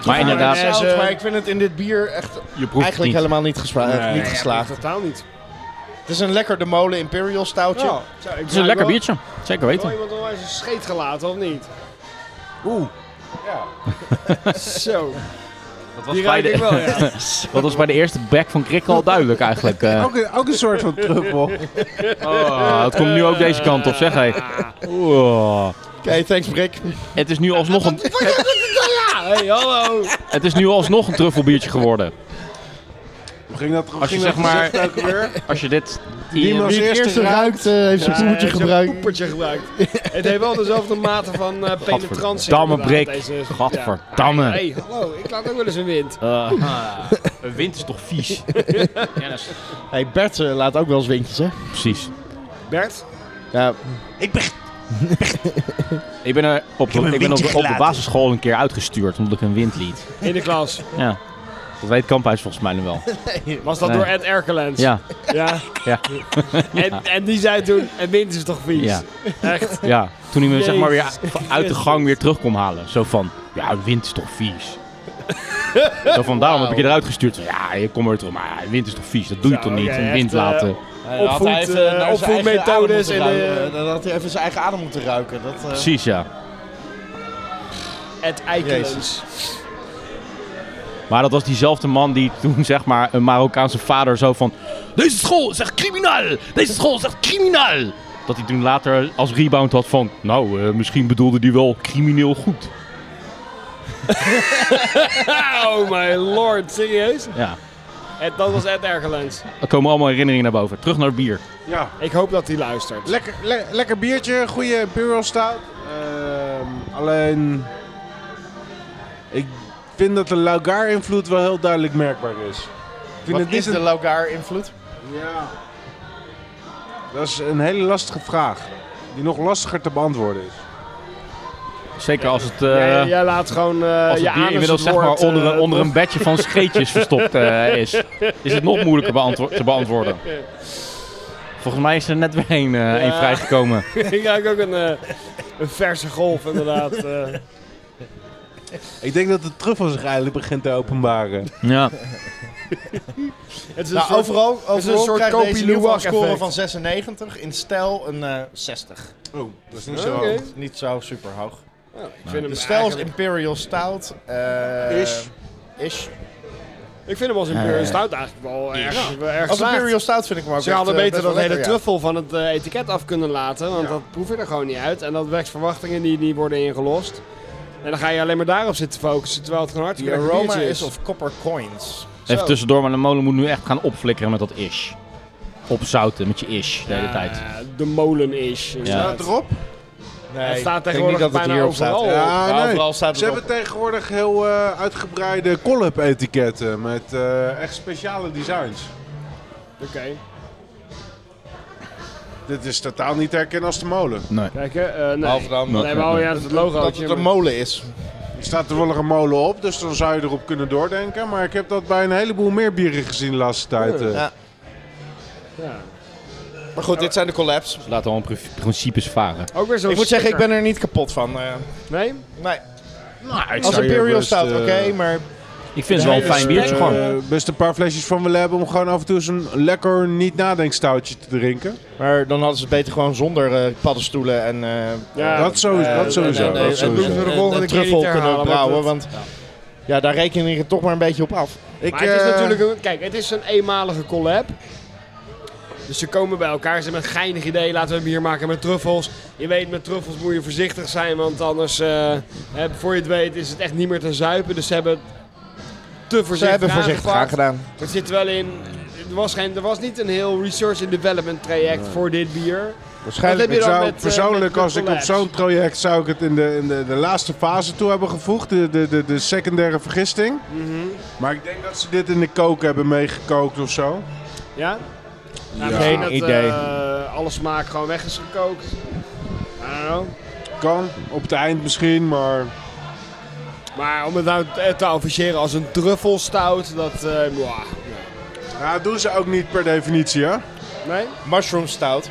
Maar inderdaad,
is,
zout,
eh,
maar ik vind het in dit bier echt
je proeft het
eigenlijk
niet.
helemaal niet, gespa- eh,
Nee.
niet
ja.
geslaagd.
Totaal niet.
Het is een lekker de molen imperial stoutje.
Ja,
Het is een lekker biertje, zeker
Wel
weten.
iemand onwijs een scheet gelaten, of niet?
Oeh. Ja.
Zo.
Dat
Die ruik ik wel, ja.
dat was bij de eerste back van Krikkel al duidelijk eigenlijk. eh.
Ook, een- ook een soort van truffel.
Oh, het komt nu ook deze kant op, zeg hé. Oeh.
Oké, thanks Brik.
Het is nu alsnog een,
Ja, hey, hallo.
Het is nu alsnog een truffelbiertje geworden.
Hoe ging dat, hoe
Als je
ging
zeg
dat
maar-
gezicht ook weer?
Als je dit...
Die
in-
was-
Wie het
eerste
eerste ruikt, eh, heeft zijn
Ja, hij
poepertje
heeft een
gebruikt.
poepertje gebruikt. het heeft wel dezelfde mate van eh, penetrantie.
Gadverdamme,
inderdaad,
Brik.
deze-
Gadverdamme.
Ja. Hey, hallo, ik laat ook wel eens een wind.
Eh, een wind is toch vies? Kennis.
Hey, Bert eh, laat ook wel eens windjes, hè?
Precies.
Bert?
Ja,
Ik ben, er op, de, ik ben op, de, op de basisschool een keer uitgestuurd omdat ik een wind liet.
In de klas.
Ja. Dat weet Kamphuis volgens mij nu wel.
Was dat
Nee.
door Ed Erkelens?
Ja,
Ja.
Ja.
En, en die zei toen, en wind is toch vies?
Ja.
Echt.
ja. Toen hij me zeg maar weer
Jezus
uit de
Christus.
gang weer terug kon halen. Zo van, ja, een wind is toch vies? Zo van, daarom heb ik je eruit gestuurd. Ja, je komt er terug, maar ja, een wind is toch vies? Dat doe je
Zo,
toch niet?
oké,
een
echt,
wind
eh,
laten.
Opvoed, eh, opvoedmethodes en, eh,
Dan had hij even zijn eigen adem moeten ruiken. Dat, eh,
Precies, ja.
Ed Erkelens.
Jezus.
Maar dat was diezelfde man die toen zeg maar een Marokkaanse vader zo van... Deze school is echt criminaal! Deze school is echt criminaal! Dat hij toen later als rebound had van... Nou, eh, misschien bedoelde die wel crimineel goed.
Oh my lord, serieus?
Ja.
Ed, dat was Ed Erkelens.
Er komen allemaal herinneringen naar boven. Terug naar het bier.
Ja,
Ik hoop dat hij luistert.
lekker, le- lekker biertje, goede Imperial Stout. Ehm, alleen, ik vind dat de Laugar-invloed wel heel duidelijk merkbaar is. Ik vind
Wat
het niet
is de
een-
Laugar-invloed?
Ja. Dat is een hele lastige vraag. Die nog lastiger te beantwoorden is.
Zeker als het... eh,
jij, jij laat gewoon eh,
Als
je
het bier
aan
inmiddels zeg maar onder,
eh,
een- onder een bedje van scheetjes verstopt eh, is, is het nog moeilijker beantwo- te beantwoorden. Volgens mij is er net weer één eh, één vrijgekomen.
ik ruik ook een, eh, een verse golf inderdaad. eh.
Ik denk dat de truffel zich eigenlijk begint te openbaren.
Ja.
het is een
Nou,
soort-
overal, overal
is een soort
krijgt
Kopi
deze in ieder geval een
Luwak
score
effect.
van 96. In stijl een eh, 60.
Oh, dat is niet
Oké.
zo
Oké.
hoog.
Niet zo super hoog.
Ik vind hem
De stijl is
eigenlijk-
Imperial Stout. eh,
Ish.
Ish.
Ik vind hem als Imperial Stout eigenlijk wel erg, wel erg
Als
slaagd.
Imperial Stout vind ik hem ook
Ze hadden
echt, eh,
beter
best
dat
wel
hele
lekker, ja.
truffel van het eh, etiket af kunnen laten, want dat proef je er gewoon niet uit. En dat wekt verwachtingen die niet worden ingelost. En dan ga je alleen maar daarop zitten focussen, terwijl het gewoon
Die
hartstikke lekker
aroma
biertje
is of copper coins.
Even tussendoor, maar de molen moet nu echt gaan opflikkeren met dat ish. Opzouten met je ish de hele
Ja,
tijd.
De molen is.
Staat het erop?
Nee,
Het staat
ik denk niet
tegenwoordig
dat het
bijna
hierop staat.
overal.
Ja,
Maar
nee.
Overal staat
Ze
het
hebben
op.
tegenwoordig heel eh, uitgebreide collab-etiketten met eh, echt speciale designs.
Oké.
Dit is totaal niet te herkennen als de molen.
Kijk, hè, eh, nee.
Behalve dan
nee, maar oh ja, dat is het logo.
dat het een molen is.
Er staat toevallig een molen op, dus dan zou je erop kunnen doordenken. Maar ik heb dat bij een heleboel meer bieren gezien de laatste tijd. eh.
Ja.
Ja.
Maar goed, dit zijn de collabs.
Dus Laten we al pri- principes varen.
Ook weer zo'n
Ik moet zeggen, ik
sticker.
ben er niet kapot van. eh.
Nee?
nee,
Nou, ik
als
zou hier
Imperial
best,
Stout,
eh,
oké, maar...
Ik vind het dus wel een fijn biertje
eh,
gewoon.
best een paar flesjes van willen hebben om gewoon af en toe eens een lekker niet-nadenkstoutje te drinken.
Maar dan hadden ze het beter gewoon zonder eh, paddenstoelen en... eh,
Ja.
dat sowieso.
eh,
dat sowieso.
en- en- en-
dat sowieso.
en-
we de
en-
volgende
en
keer niet
truffel
herhalen,
kunnen
want
brouwen,
dat-
want... Ja, daar reken ik het toch maar een beetje op af.
Ik,
maar het is
eh,
natuurlijk een, kijk, het is een eenmalige collab. Dus ze komen bij elkaar, ze hebben een geinig idee, laten we hem hier maken met truffels. Je weet, met truffels moet je voorzichtig zijn, want anders, eh, hè, voor je het weet, is het echt niet meer te zuipen. Dus ze hebben het te voorzichtig
Ze hebben voorzichtig
aangepakt.
aangedaan.
Er zit wel in, er was, geen, er was niet een heel research and development traject voor dit bier.
Waarschijnlijk,
Wat heb je
ik
dan
zou
met, eh,
persoonlijk,
met
als ik op
collabs?
zo'n project zou ik het in de, in de, de laatste fase toe hebben gevoegd, de, de, de, de secundaire vergisting. Maar ik denk dat ze dit in de kook hebben meegekookt of zo.
Ja? Nou,
Ja.
misschien
Geen
dat,
idee.
eh, alle smaak gewoon weg is gekookt. I don't know.
Kan, op het eind misschien, maar
Maar om het nou te- te officiëren als een truffelstout, dat... eh, mwah.
ja, dat doen ze ook niet per definitie, hè?
nee?
Mushroom Stout.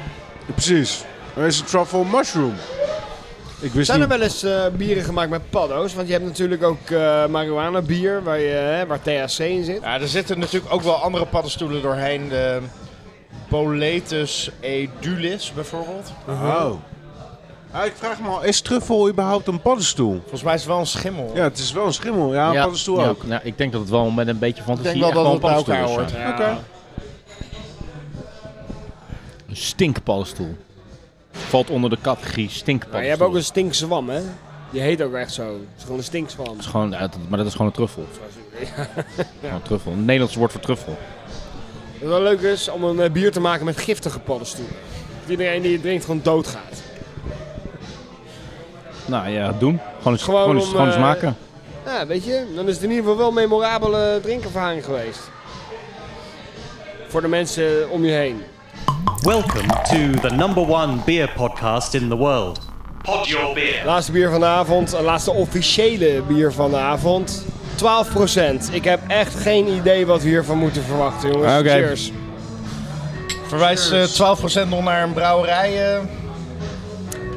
Precies. Er is een truffle mushroom. Ik wist
Zijn er
niet.
wel eens eh, bieren gemaakt met paddo's? Want je hebt natuurlijk ook eh marihuana bier, waar, je, hè, waar THC in zit.
Ja, er zitten natuurlijk ook wel andere paddenstoelen doorheen. De Boletus edulis bijvoorbeeld.
Oh. Ah, ik vraag me al, is truffel überhaupt een paddenstoel?
Volgens mij is het wel een schimmel.
Ja, het is wel een schimmel. Ja, een paddenstoel
ja,
ook.
ja, ik denk dat het wel met een beetje
Ik
fantasie
denk wel
echt
dat het bij
paddenstoel
elkaar
is, ja.
hoort.
Oké.
Een stinkpaddenstoel. Valt onder de categorie stinkpaddenstoel.
Nou, Maar je hebt ook een stinkzwam, hè? Die heet ook echt zo. Het is gewoon een stinkswam.
is gewoon, ja, dat- maar dat is gewoon een truffel. Gewoon een truffel. Een Nederlands woord voor truffel.
Wat wel leuk is om een eh, bier te maken met giftige paddenstoelen. Dat iedereen die het drinkt gewoon doodgaat.
Nou ja, doen. Gewoon eens,
Gewoon
gewoon eens,
om,
gewoon eens
eh,
maken.
Ja, weet je, dan is het in ieder geval wel een memorabele drinkervaring geweest. Voor de mensen om je heen.
Welcome to the number one beer podcast in the world. Pod your beer.
Laatste bier van de avond, eh, laatste officiële bier van de avond. 12%. Ik heb echt geen idee wat we hiervan moeten verwachten, jongens.
Oké.
Cheers.
Verwijst eh 12% nog naar een brouwerij. eh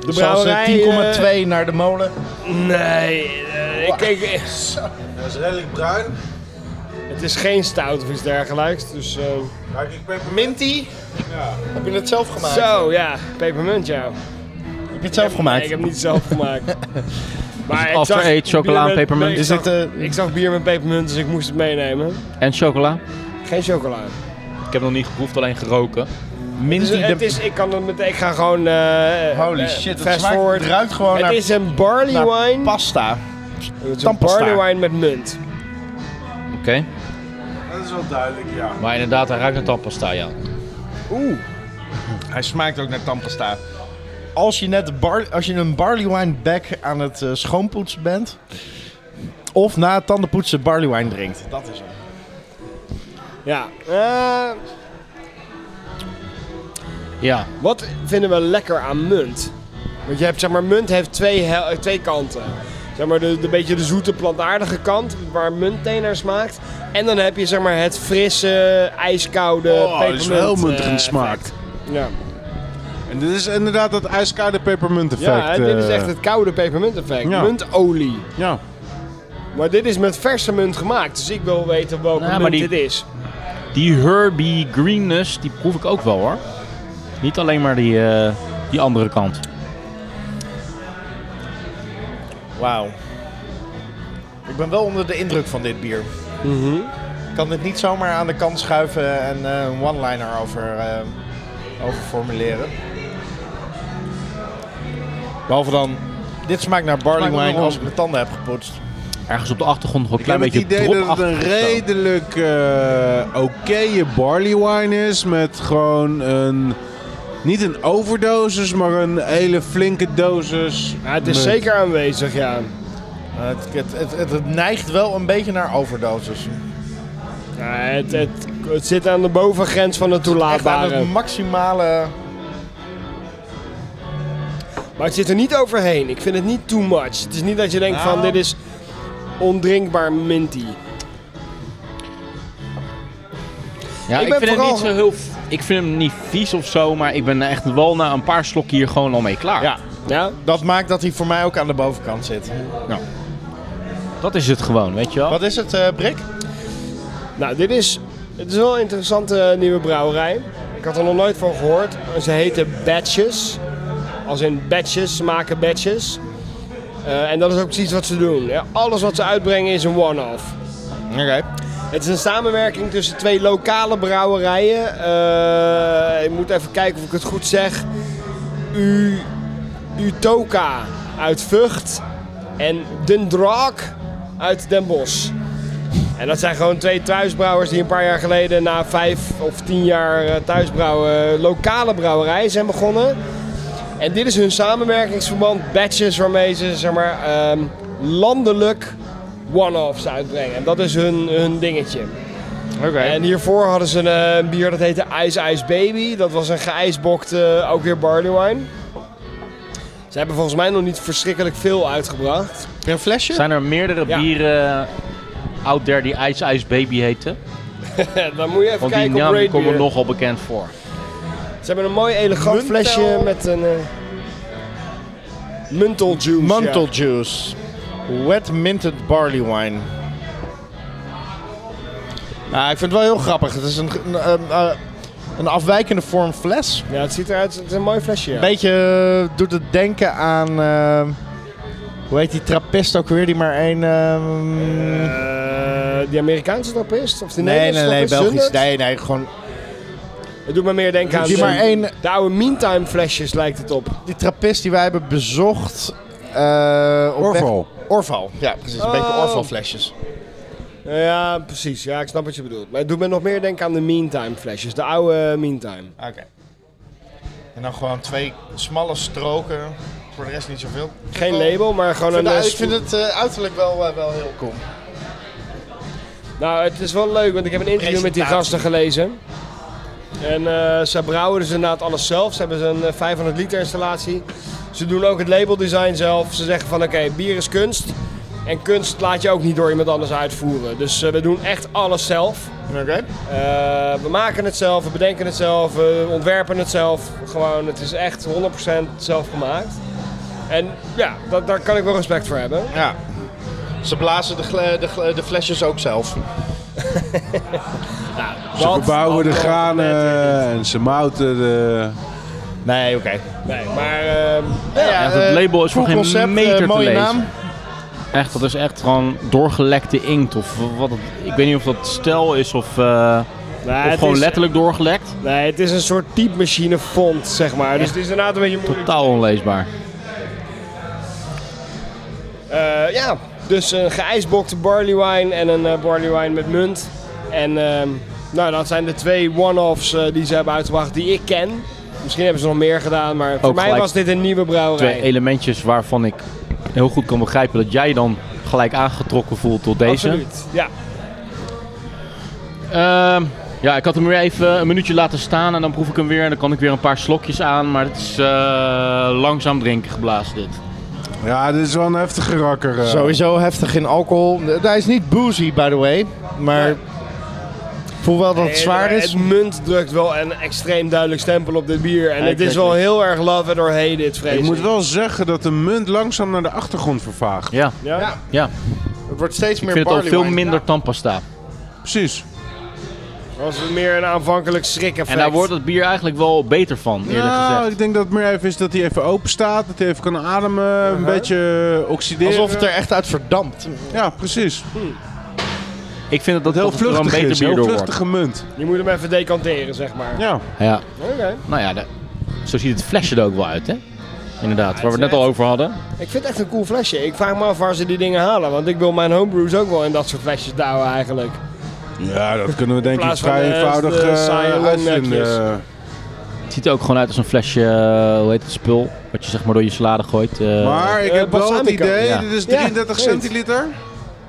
De
zoals, eh,
brouwerij...
10,2 naar de molen.
eh, nee, eh, ik, ik,
Dat is redelijk bruin.
het is geen stout of iets dergelijks. Dus, eh,
Ruik ik peppermint?
Minty? Heb je het zelf gemaakt?
Zo, ja. Pepermunt, ja.
Heb je het zelf
Nee,
gemaakt? Dus
ik heb het niet zelf gemaakt. maar ik
after
zag
eight,
bier
chocola en
met-
pepermunt?
nee,
Is
ik,
dit,
zag,
eh,
ik zag bier met pepermunt, dus ik moest het meenemen.
En chocola.
Geen chocola.
Ik heb nog niet geproefd, alleen geroken.
Dus
Minty
het is, ik, kan het meteen, ik ga gewoon... eh,
Holy
eh,
shit, het
fast
smaakt,
forward.
het ruikt gewoon
Het
naar,
is een barley
naar
wine.
pasta.
het is een
tandpasta.
barley wine met munt.
Oké.
Dat is wel duidelijk, ja.
Maar inderdaad, hij ruikt naar tandpasta, ja.
Oeh.
Hij smaakt ook naar tandpasta. Als je net bar, als je een barley wine bag aan het eh, schoonpoetsen bent... Of na het tandenpoetsen barley wine drinkt. Dat is hem.
Ja. Eh,
Ja,
wat vinden we lekker aan munt? Want je hebt, zeg maar, munt heeft twee, hel- eh, twee kanten. Zeg maar, de, de beetje de zoete, plantaardige kant, waar munt thee naar smaakt. En dan heb je, zeg maar, het frisse, ijskoude
Oh, dat
pepermunt.
is wel muntig in
eh,
smaak.
effect. Ja,
En dit is inderdaad dat ijskoude pepermunt effect.
ja hè, dit is
eh,
echt het koude pepermunt effect.
Ja.
Muntolie.
Ja.
Maar dit is met verse munt gemaakt, dus ik wil weten welke
Ja, maar
munt
die-
dit is.
die herby greenness, die proef ik ook wel hoor. Niet alleen maar die, eh, die andere kant.
Wauw. Ik ben wel onder de indruk van dit bier. Ik kan dit niet zomaar aan de kant schuiven en eh, een one-liner over, eh, over formuleren. Behalve dan, dit smaakt naar barley
Smaakt
wine
wel
als ik mijn tanden heb gepoetst.
Ergens op de achtergrond nog een
Ik
klein
heb het
beetje
idee dat het een
dropachtig of zo.
redelijk eh oké barley wine is. Met gewoon een. Niet een overdosis, maar een hele flinke dosis.
Ja, het is
munt.
zeker aanwezig, ja.
Eh, het, het, het, het, het neigt wel een beetje naar overdosis.
ja het, het, het zit aan de bovengrens van de
Echt aan
toelaatbare.
het maximale...
Maar het zit er niet overheen. Ik vind het niet too much. Het is niet dat je denkt van
Nou.
dit is ondrinkbaar minty.
Ja,
Ik
ik,
ben
vind hem
vooral-
niet zo heel. Ik vind hem niet vies of zo, maar ik ben echt wel na een paar slokken hier gewoon al mee klaar.
Ja,
Ja?
dat maakt dat hij voor mij ook aan de bovenkant zit.
Dat is het gewoon, weet je wel.
Wat is het, eh Brik?
Nou, dit is, het is wel een interessante eh, nieuwe brouwerij. Ik had er nog nooit van gehoord. Ze heten Batches. Als in batches, ze maken batches. Eh, en dat is ook precies wat ze doen. Ja, alles wat ze uitbrengen is een one-off.
Oké.
Het is een samenwerking tussen twee lokale brouwerijen. Eh, ik moet even kijken of ik het goed zeg. U, Utoka uit Vught en Den Draak uit Den Bosch. En dat zijn gewoon twee thuisbrouwers die een paar jaar geleden na vijf of tien jaar eh, thuisbrouwen lokale brouwerijen zijn begonnen. En dit is hun samenwerkingsverband, batches waarmee ze zeg maar, ehm, landelijk one-offs uitbrengen. En dat is hun, hun dingetje.
Oké.
En hiervoor hadden ze een, eh, bier dat heette Ice Ice Baby. Dat was een geijsbokte, eh, ook weer barley wine. Ze hebben volgens mij nog niet verschrikkelijk veel uitgebracht.
Een flesje?
Zijn er meerdere
Ja.
bieren eh, out there die Ice Ice Baby heten?
Dan moet je even
Want die
kijken op
naam
Raid
komt
Beer.
er nogal bekend voor.
Ze hebben een mooi elegant
Muntel.
flesje met een... eh Muntel juice. ja.
Mantel juice. Wet minted barley wine. Nou, ik vind het wel heel grappig. Het is een, een, een, eh, een afwijkende vorm fles.
Ja, het ziet eruit. Het is een mooi flesje. ja.
Beetje eh, doet het denken aan. eh, hoe heet die trappist ook weer? Die maar één. ehm,
Eh, die Amerikaanse trappist? Of de
nee, nee,
Nederlandse
nee,
trappist?
Belgisch.
Zundert?
Nee, nee, gewoon.
Het doet me meer denken aan
Die
de,
maar één.
de oude Meantime flesjes lijkt het op.
Die trappist die wij hebben bezocht. eh, op weg-
Orval.
Orval, ja precies. Een beetje
Oh.
Orval flesjes.
Ja, precies. Ja, ik snap wat je bedoelt. Maar het doet me nog meer denken aan de Meantime flesjes. De oude Meantime.
Oké. En dan gewoon twee smalle stroken. Voor de rest niet zoveel.
Geen
Oh.
label, maar gewoon
Ik vind,
een...
de-
eh,
ik vind het eh, uiterlijk wel, eh, wel heel cool.
Nou, het is wel leuk, want ik heb een interview met die
Presentatie.
gasten gelezen. En eh ze brouwen dus inderdaad alles zelf. Ze hebben een 500 liter installatie. Ze doen ook het labeldesign zelf. Ze zeggen van oké, bier is kunst. En kunst laat je ook niet door iemand anders uitvoeren. Dus eh, we doen echt alles zelf.
Oké.
Eh, we maken het zelf, we bedenken het zelf, we ontwerpen het zelf. Gewoon, het is echt 100% zelf gemaakt. En ja, dat, daar kan ik wel respect voor hebben.
Ja. Ze blazen de, gle- de, gle- de flesjes ook zelf.
Ze verbouwen de granen
granen.
en ze mouten de...
Nee, oké.
Nee, maar ehm,
Ja,
Eh,
dat label is voor geen meter te
mooie
lezen.
Naam.
Echt, dat is echt gewoon doorgelekte inkt. Of wat het- ik weet niet of dat stel is of, eh,
Nee,
of
het
gewoon
is-
letterlijk doorgelekt.
Nee, het is een soort typemachine font, zeg maar. Dus het is inderdaad een beetje moeilijk.
Totaal onleesbaar.
Eh, ja, dus een geijsbokte barley wine en een eh, barley wine met munt. En ehm, nou, dat zijn de twee one-offs eh, die ze hebben uitgebracht die ik ken. Misschien hebben ze nog meer gedaan, maar voor
Ook
mij
gelijk
was dit een nieuwe
Twee
brouwerij.
elementjes waarvan ik heel goed kan begrijpen dat jij dan gelijk aangetrokken voelt tot deze.
Absoluut, ja.
Ehm, ja, ik had hem weer even een minuutje laten staan en dan proef ik hem weer. En dan kan ik weer een paar slokjes aan. Maar het is eh, langzaam drinken geblazen dit.
Ja, dit is wel een heftige rakker. eh.
Sowieso heftig in alcohol. Hij is niet boozy, by the way. Maar ik voel wel dat het zwaar
Eh,
is.
Het munt drukt wel een extreem duidelijk stempel op dit bier. En het is
Exactly.
wel heel erg love it or hate it, vrees
Ik
ik.
moet wel zeggen dat de munt langzaam naar de achtergrond vervaagt.
Ja,
Ja?
Ja.
ja.
Het wordt steeds
ik
meer
vind het al
barley
veel
wine.
minder tandpasta.
Precies.
was het meer een aanvankelijk schrik
En daar wordt het bier eigenlijk wel beter van, eerlijk
Nou,
gezegd.
ik denk dat het meer even is dat hij even open staat, dat hij even kan ademen, een beetje eh, oxideren.
Alsof het er echt uit verdampt.
Ja, precies.
Ik vind dat dat
Heel
dat het er
vluchtig
een beter
is,
bier
heel
door wordt.
vluchtige munt.
Je moet hem even decanteren, zeg maar.
Ja.
Ja.
Oké.
Nou ja, de- zo ziet het flesje er ook wel uit, hè? Inderdaad, waar we
is
het net al over hadden.
Ik vind het echt een cool flesje. Ik vraag me af waar ze die dingen halen. Want ik wil mijn homebrews ook wel in dat soort flesjes douwen eigenlijk.
Ja, dat kunnen we denk ik
plaats van
vrij
de-
eenvoudig
de
eh,
saaie
uitvinden. Eh,
longneckjes.
Het ziet er ook gewoon uit als een flesje, eh, hoe heet het spul? Wat je zeg maar door je salade gooit. eh.
maar ik
eh,
heb wel het
balsamico.
idee,
Ja.
dit is
Ja,
33
weet.
centiliter.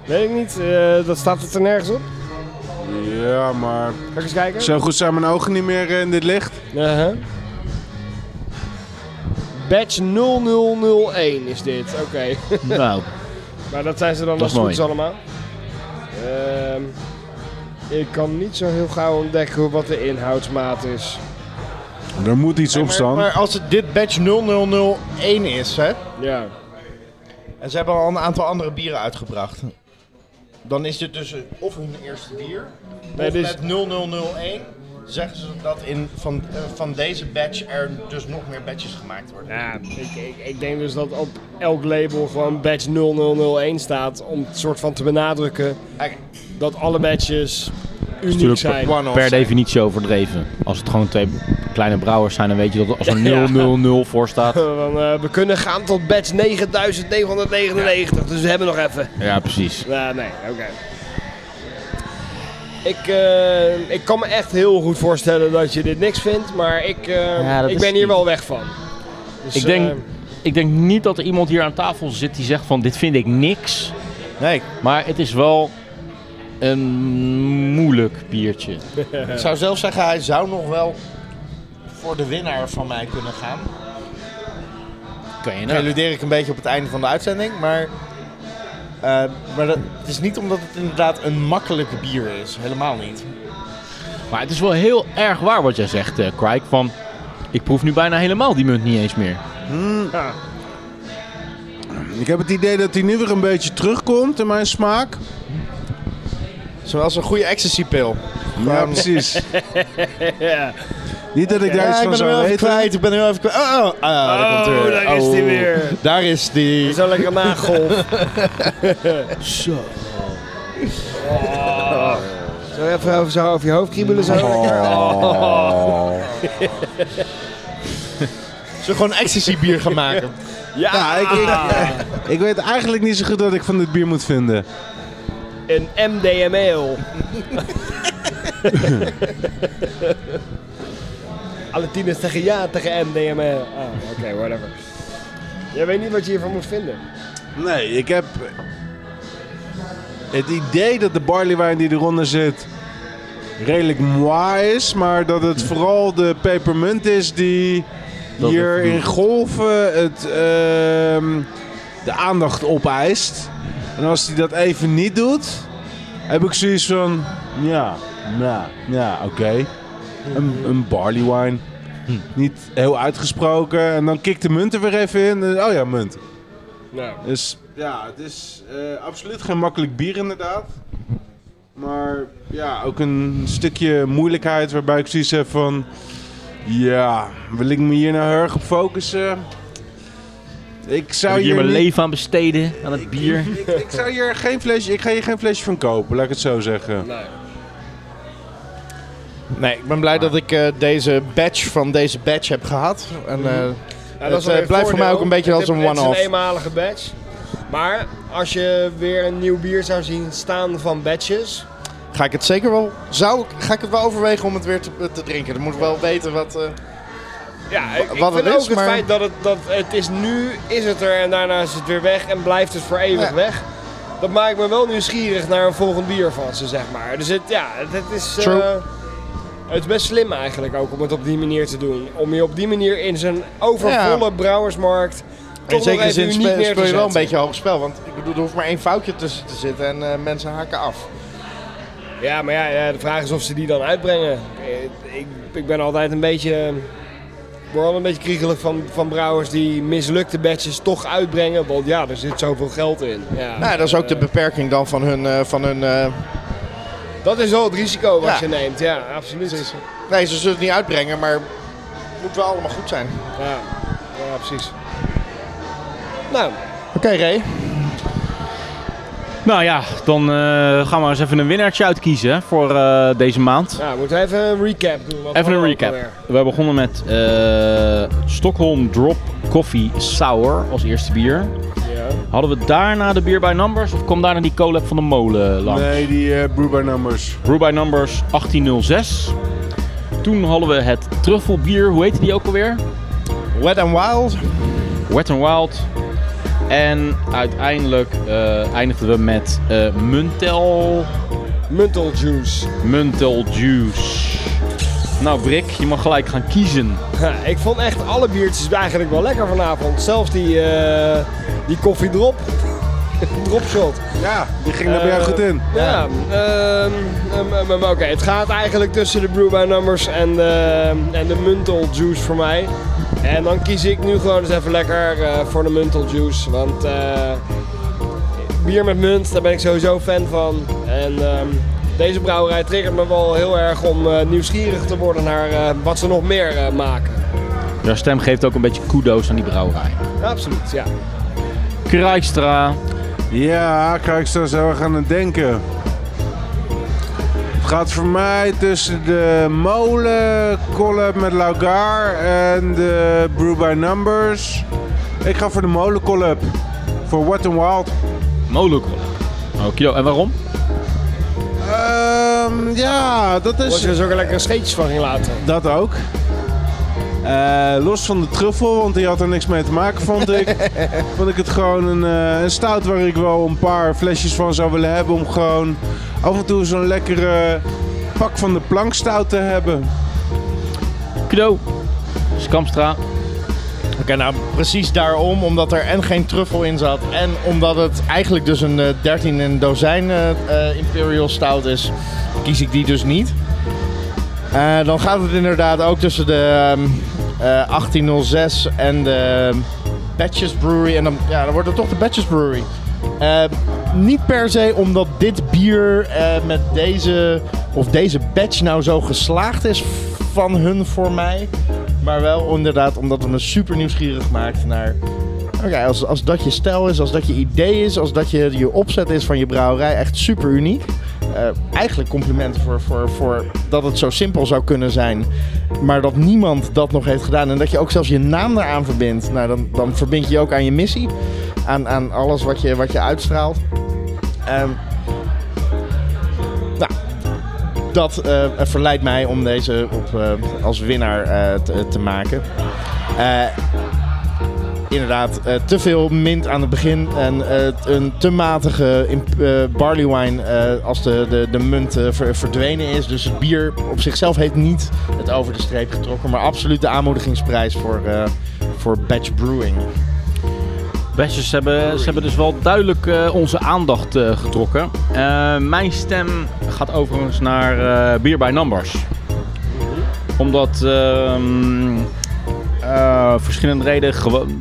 Weet ik niet. eh, dat staat het er nergens op.
Ja, maar
Ga ik eens kijken?
zo goed zijn mijn ogen niet meer eh, in dit licht.
Uh-huh. Batch 0001 is dit. Oké.
Nou,
maar dat zijn ze dan
Dat
als
is
goed is
mooi.
allemaal. Ehm, ik kan niet zo heel gauw ontdekken wat de inhoudsmaat is.
Er moet iets op
Maar, maar
staan.
als het dit batch 0001 is, hè,
Ja.
en ze hebben al een aantal andere bieren uitgebracht, dan is dit dus of hun eerste bier,
Nee,
of
dit is-
met 0001 zeggen ze dat in, van, eh, van deze batch er dus nog meer batches gemaakt worden.
Ja, ik, ik, ik denk dus dat op elk label gewoon batch 0001 staat. Om het soort van te benadrukken
Oké,
dat alle batches uniek
natuurlijk
zijn.
one-off
per
zijn.
definitie overdreven. Als het gewoon twee kleine brouwers zijn, dan weet je dat er als er
Ja.
000 voor staat.
Van, eh, we kunnen gaan tot batch 9999, dus we hebben nog even.
Ja, precies.
Nou, nee, oké. Ik, eh, ik kan me echt heel goed voorstellen dat je dit niks vindt, maar ik, eh,
Ja, dat
ik
is
ben hier
niet.
wel weg van. Dus,
Ik denk-
eh,
Ik denk niet dat er iemand hier aan tafel zit die zegt van dit vind ik niks.
Nee,
Maar het is wel een moeilijk biertje.
ik zou zelf zeggen, hij zou nog wel voor de winnaar van mij kunnen gaan.
Kan je
Nou.
nou?
Preludeer ik een beetje op het einde van de uitzending, maar, eh, maar dat, het is niet omdat het inderdaad een makkelijke bier is. Helemaal niet.
Maar het is wel heel erg waar wat jij zegt, eh Crike. Van, ik proef nu bijna helemaal die munt niet eens meer.
Ik heb het idee dat hij nu weer een beetje terugkomt in mijn smaak.
Zoals een goede ecstasy-pil.
Ja,
Gewoon-
precies. Niet dat ik daar
Ja,
iets
ik
van
ben hem
zou
heel even
weten.
kwijt. Ik ben heel even kwijt. Oh, oh, ah, daar komt hij
Oh, daar is hij weer.
Daar is die.
Zo lekker nagolf. Zo. Zo even over, zo over je hoofd kriebelen zo.
Oh.
Zullen we gewoon ecstasy bier gaan maken?
Ja,
Ja, Nou, ik, ik, ik weet eigenlijk niet zo goed wat ik van dit bier moet vinden.
een MDML. Alle tieners zeggen ja tegen MDML. Ah, oké, whatever. Jij weet niet wat je hiervan moet vinden.
Nee, ik heb het idee dat de barleywijn die eronder zit redelijk mooi is, maar dat het vooral de pepermunt is die
Dat
hier
het-
in golven het, ehm, de aandacht opeist. En als hij dat even niet doet, heb ik zoiets van, ja, nou, ja, oké. Een, een barley wine.
Hm.
Niet heel uitgesproken. En dan kikt de munt er weer even in. Oh ja, munt.
Nou,
Dus ja, het is eh, absoluut geen makkelijk bier inderdaad. Maar ja, ook een stukje moeilijkheid waarbij ik zoiets heb van... Ja, wil ik me hier nou heel erg op focussen? Ik
Heb
zou
ik hier mijn
niet-
leven aan besteden, aan het bier.
Ik, ik zou hier geen flesje... Ik ga hier geen flesje van kopen, laat ik het zo zeggen.
Nee, ik ben blij dat ik eh, deze badge van deze badge heb gehad. En, eh,
Mhm. Ja,
Het,
Nou, wel
eh,
een
blijft voor mij
voordeel.
ook een beetje
Het
als een
is- Het
one-off.
is een eenmalige badge. Maar als je weer een nieuw bier zou zien staan van badges.
ga ik het zeker wel. Zou ik, ga ik het wel overwegen om het weer te, te drinken? Dan moet ik wel weten wat. eh,
Ja, ik, ik
wat
vind
het
ook
is,
het
maar-
feit dat het, dat het is nu, is het er en daarna is het weer weg en blijft het voor eeuwig
Ja.
weg. Dat maakt me wel nieuwsgierig naar een volgend bier van ze, zeg maar. Dus het, ja, het, het is... eh,
True.
het is best slim eigenlijk ook om het op die manier te doen. Om je op die manier in zo'n overvolle brouwersmarkt
in
toch nog
zekere
even
zin
uniek
spe-
neer te
speel je wel een
zetten.
beetje hoog spel. Want ik bedoel, er hoeft maar één foutje tussen te zitten en eh, mensen haken af.
Ja, maar ja, ja, de vraag is of ze die dan uitbrengen. Eh, Ik, ik ben altijd een beetje. eh, Ik word wel een beetje kriegelig van, van brouwers die mislukte batches toch uitbrengen. Want ja, er zit zoveel geld in. Ja,
Nou, dat is
Eh.
ook de beperking dan van hun. eh, van hun eh,
dat is wel het risico wat
Ja.
je neemt. Ja, absoluut.
nee, ze zullen het niet uitbrengen, maar het moet wel allemaal goed zijn.
Ja, ja precies. Nou,
Oké, Ray.
Nou ja, dan eh, gaan we eens even een winnaartje uitkiezen hè, voor eh, deze maand.
nou, moeten we even een recap doen. wat
Even
we
een
ook
recap.
alweer.
We begonnen met eh, Stockholm Drop Coffee Sour als eerste bier.
Ja.
Hadden we daarna de Beer by Numbers of kwam daarna die collab van de molen langs?
Nee, die eh Brew by Numbers.
Brew by Numbers 1806. Toen hadden we het truffelbier, hoe heette die ook alweer?
Wet and Wild.
Wet n Wild. En uiteindelijk eh, eindigden we met eh, Muntel,
Muntel juice.
Muntel Juice. Nou Brik, je mag gelijk gaan kiezen.
Ja, ik vond echt alle biertjes eigenlijk wel lekker vanavond. Zelfs die, eh die koffiedrop. Dropshot.
Ja, die ging daar bij jou
Eh,
goed in.
Ja, ehm, ehm, ehm, ehm, oké. Het gaat eigenlijk tussen de Brew by Numbers en de, en de Muntel Juice voor mij. En dan kies ik nu gewoon eens even lekker eh, voor de Muntel Juice. Want eh, bier met munt, daar ben ik sowieso fan van. En ehm, deze brouwerij triggert me wel heel erg om eh, nieuwsgierig te worden naar eh, wat ze nog meer eh, maken.
Jouw stem geeft ook een beetje kudo's aan die brouwerij.
Absoluut, ja.
Kruistra,
Ja, kijk, ik zo erg aan het denken. Het gaat voor mij tussen de molen collab met Laugar en de Brew by Numbers. Ik ga voor de molen collab. Voor Wet n Wild.
Molenkool. Oké, Oh, en waarom?
Ehm, ja, dat
Wat
is...
je dus ook lekker scheetjes van ging laten.
Dat ook. Eh, los van de truffel, want die had er niks mee te maken, vond ik. vond ik het gewoon een, eh, een stout waar ik wel een paar flesjes van zou willen hebben. Om gewoon af en toe zo'n lekkere pak van de plank stout te hebben.
Kudo, Skamstra.
Oké, nou precies daarom, omdat er en geen truffel in zat en omdat het eigenlijk dus een eh, 13 en dozijn eh, eh, Imperial Stout is, kies ik die dus niet. Eh, dan gaat het inderdaad ook tussen de ehm, eh, 1806 en de Batches Brewery. En dan, ja, dan wordt het toch de Batches Brewery. Eh, niet per se omdat dit bier eh, met deze of deze batch nou zo geslaagd is van hun voor mij. Maar wel inderdaad omdat het me super nieuwsgierig maakt naar... Oké, als, als dat je stijl is, als dat je idee is, als dat je je opzet is van je brouwerij, echt super uniek. eh, eigenlijk complimenten voor, voor, voor dat het zo simpel zou kunnen zijn. Maar dat niemand dat nog heeft gedaan. En dat je ook zelfs je naam eraan verbindt. Nou, dan, dan verbind je je ook aan je missie. Aan, aan alles wat je, wat je uitstraalt. Ehm, nou, dat eh, verleidt mij om deze op, eh, als winnaar eh, te, te maken. Eh, inderdaad, eh, te veel mint aan het begin en eh, t- een te matige imp- eh, barley wine eh, als de, de, de munt eh, ver- verdwenen is. Dus het bier op zichzelf heeft niet het over de streep getrokken, maar absoluut de aanmoedigingsprijs voor, eh, voor batch brewing.
Bashers hebben, ze hebben dus wel duidelijk eh, onze aandacht eh, getrokken. Eh, mijn stem gaat overigens naar eh Beer by Numbers. Omdat ehm, eh, verschillende redenen gewoon.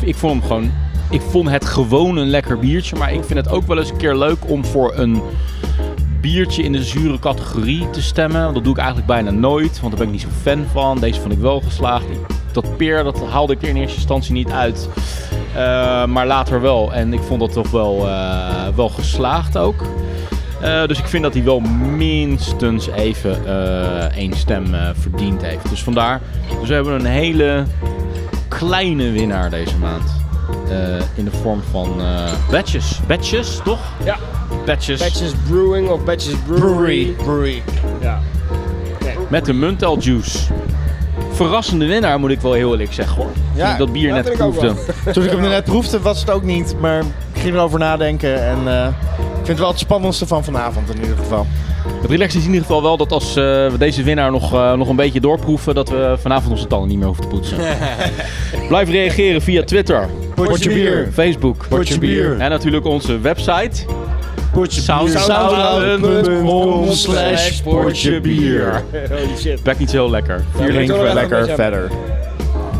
Ik vond hem gewoon. Ik vond het gewoon een lekker biertje. Maar ik vind het ook wel eens een keer leuk om voor een biertje in de zure categorie te stemmen. Dat doe ik eigenlijk bijna nooit, want daar ben ik niet zo fan van. Deze vond ik wel geslaagd. Dat peer, dat haalde ik er in eerste instantie niet uit. Eh, maar later wel. En ik vond dat toch wel, eh, wel geslaagd ook. Eh, dus ik vind dat hij wel minstens even eh één stem eh, verdiend heeft. Dus vandaar. Dus we hebben een hele kleine winnaar deze maand. Eh, in de vorm van eh batches. Batches, toch?
Ja.
Batches.
Batches Brewing of Batches Brewery.
Brewery. Brewery.
Ja.
Met de Muntel Juice. Verrassende winnaar, moet ik wel heel eerlijk zeggen hoor.
Ja,
Toen ik dat bier
dat
net
vind ik ook
proefde.
Toen ik hem net proefde was het ook niet, maar ik ging erover nadenken en eh, ik vind het wel het spannendste van vanavond in ieder geval.
Het relax is in ieder geval wel dat als eh, we deze winnaar nog, eh, nog een beetje doorproeven, dat we vanavond onze tanden niet meer hoeven te poetsen. Blijf reageren via Twitter,
Potje bier.
Facebook
Potje bier.
en natuurlijk onze website.
Soundcloud.com slash
potje bier.
Holy shit.
Bek niet zo heel lekker. Vier
klinkt wel
lekker.
lekker
verder.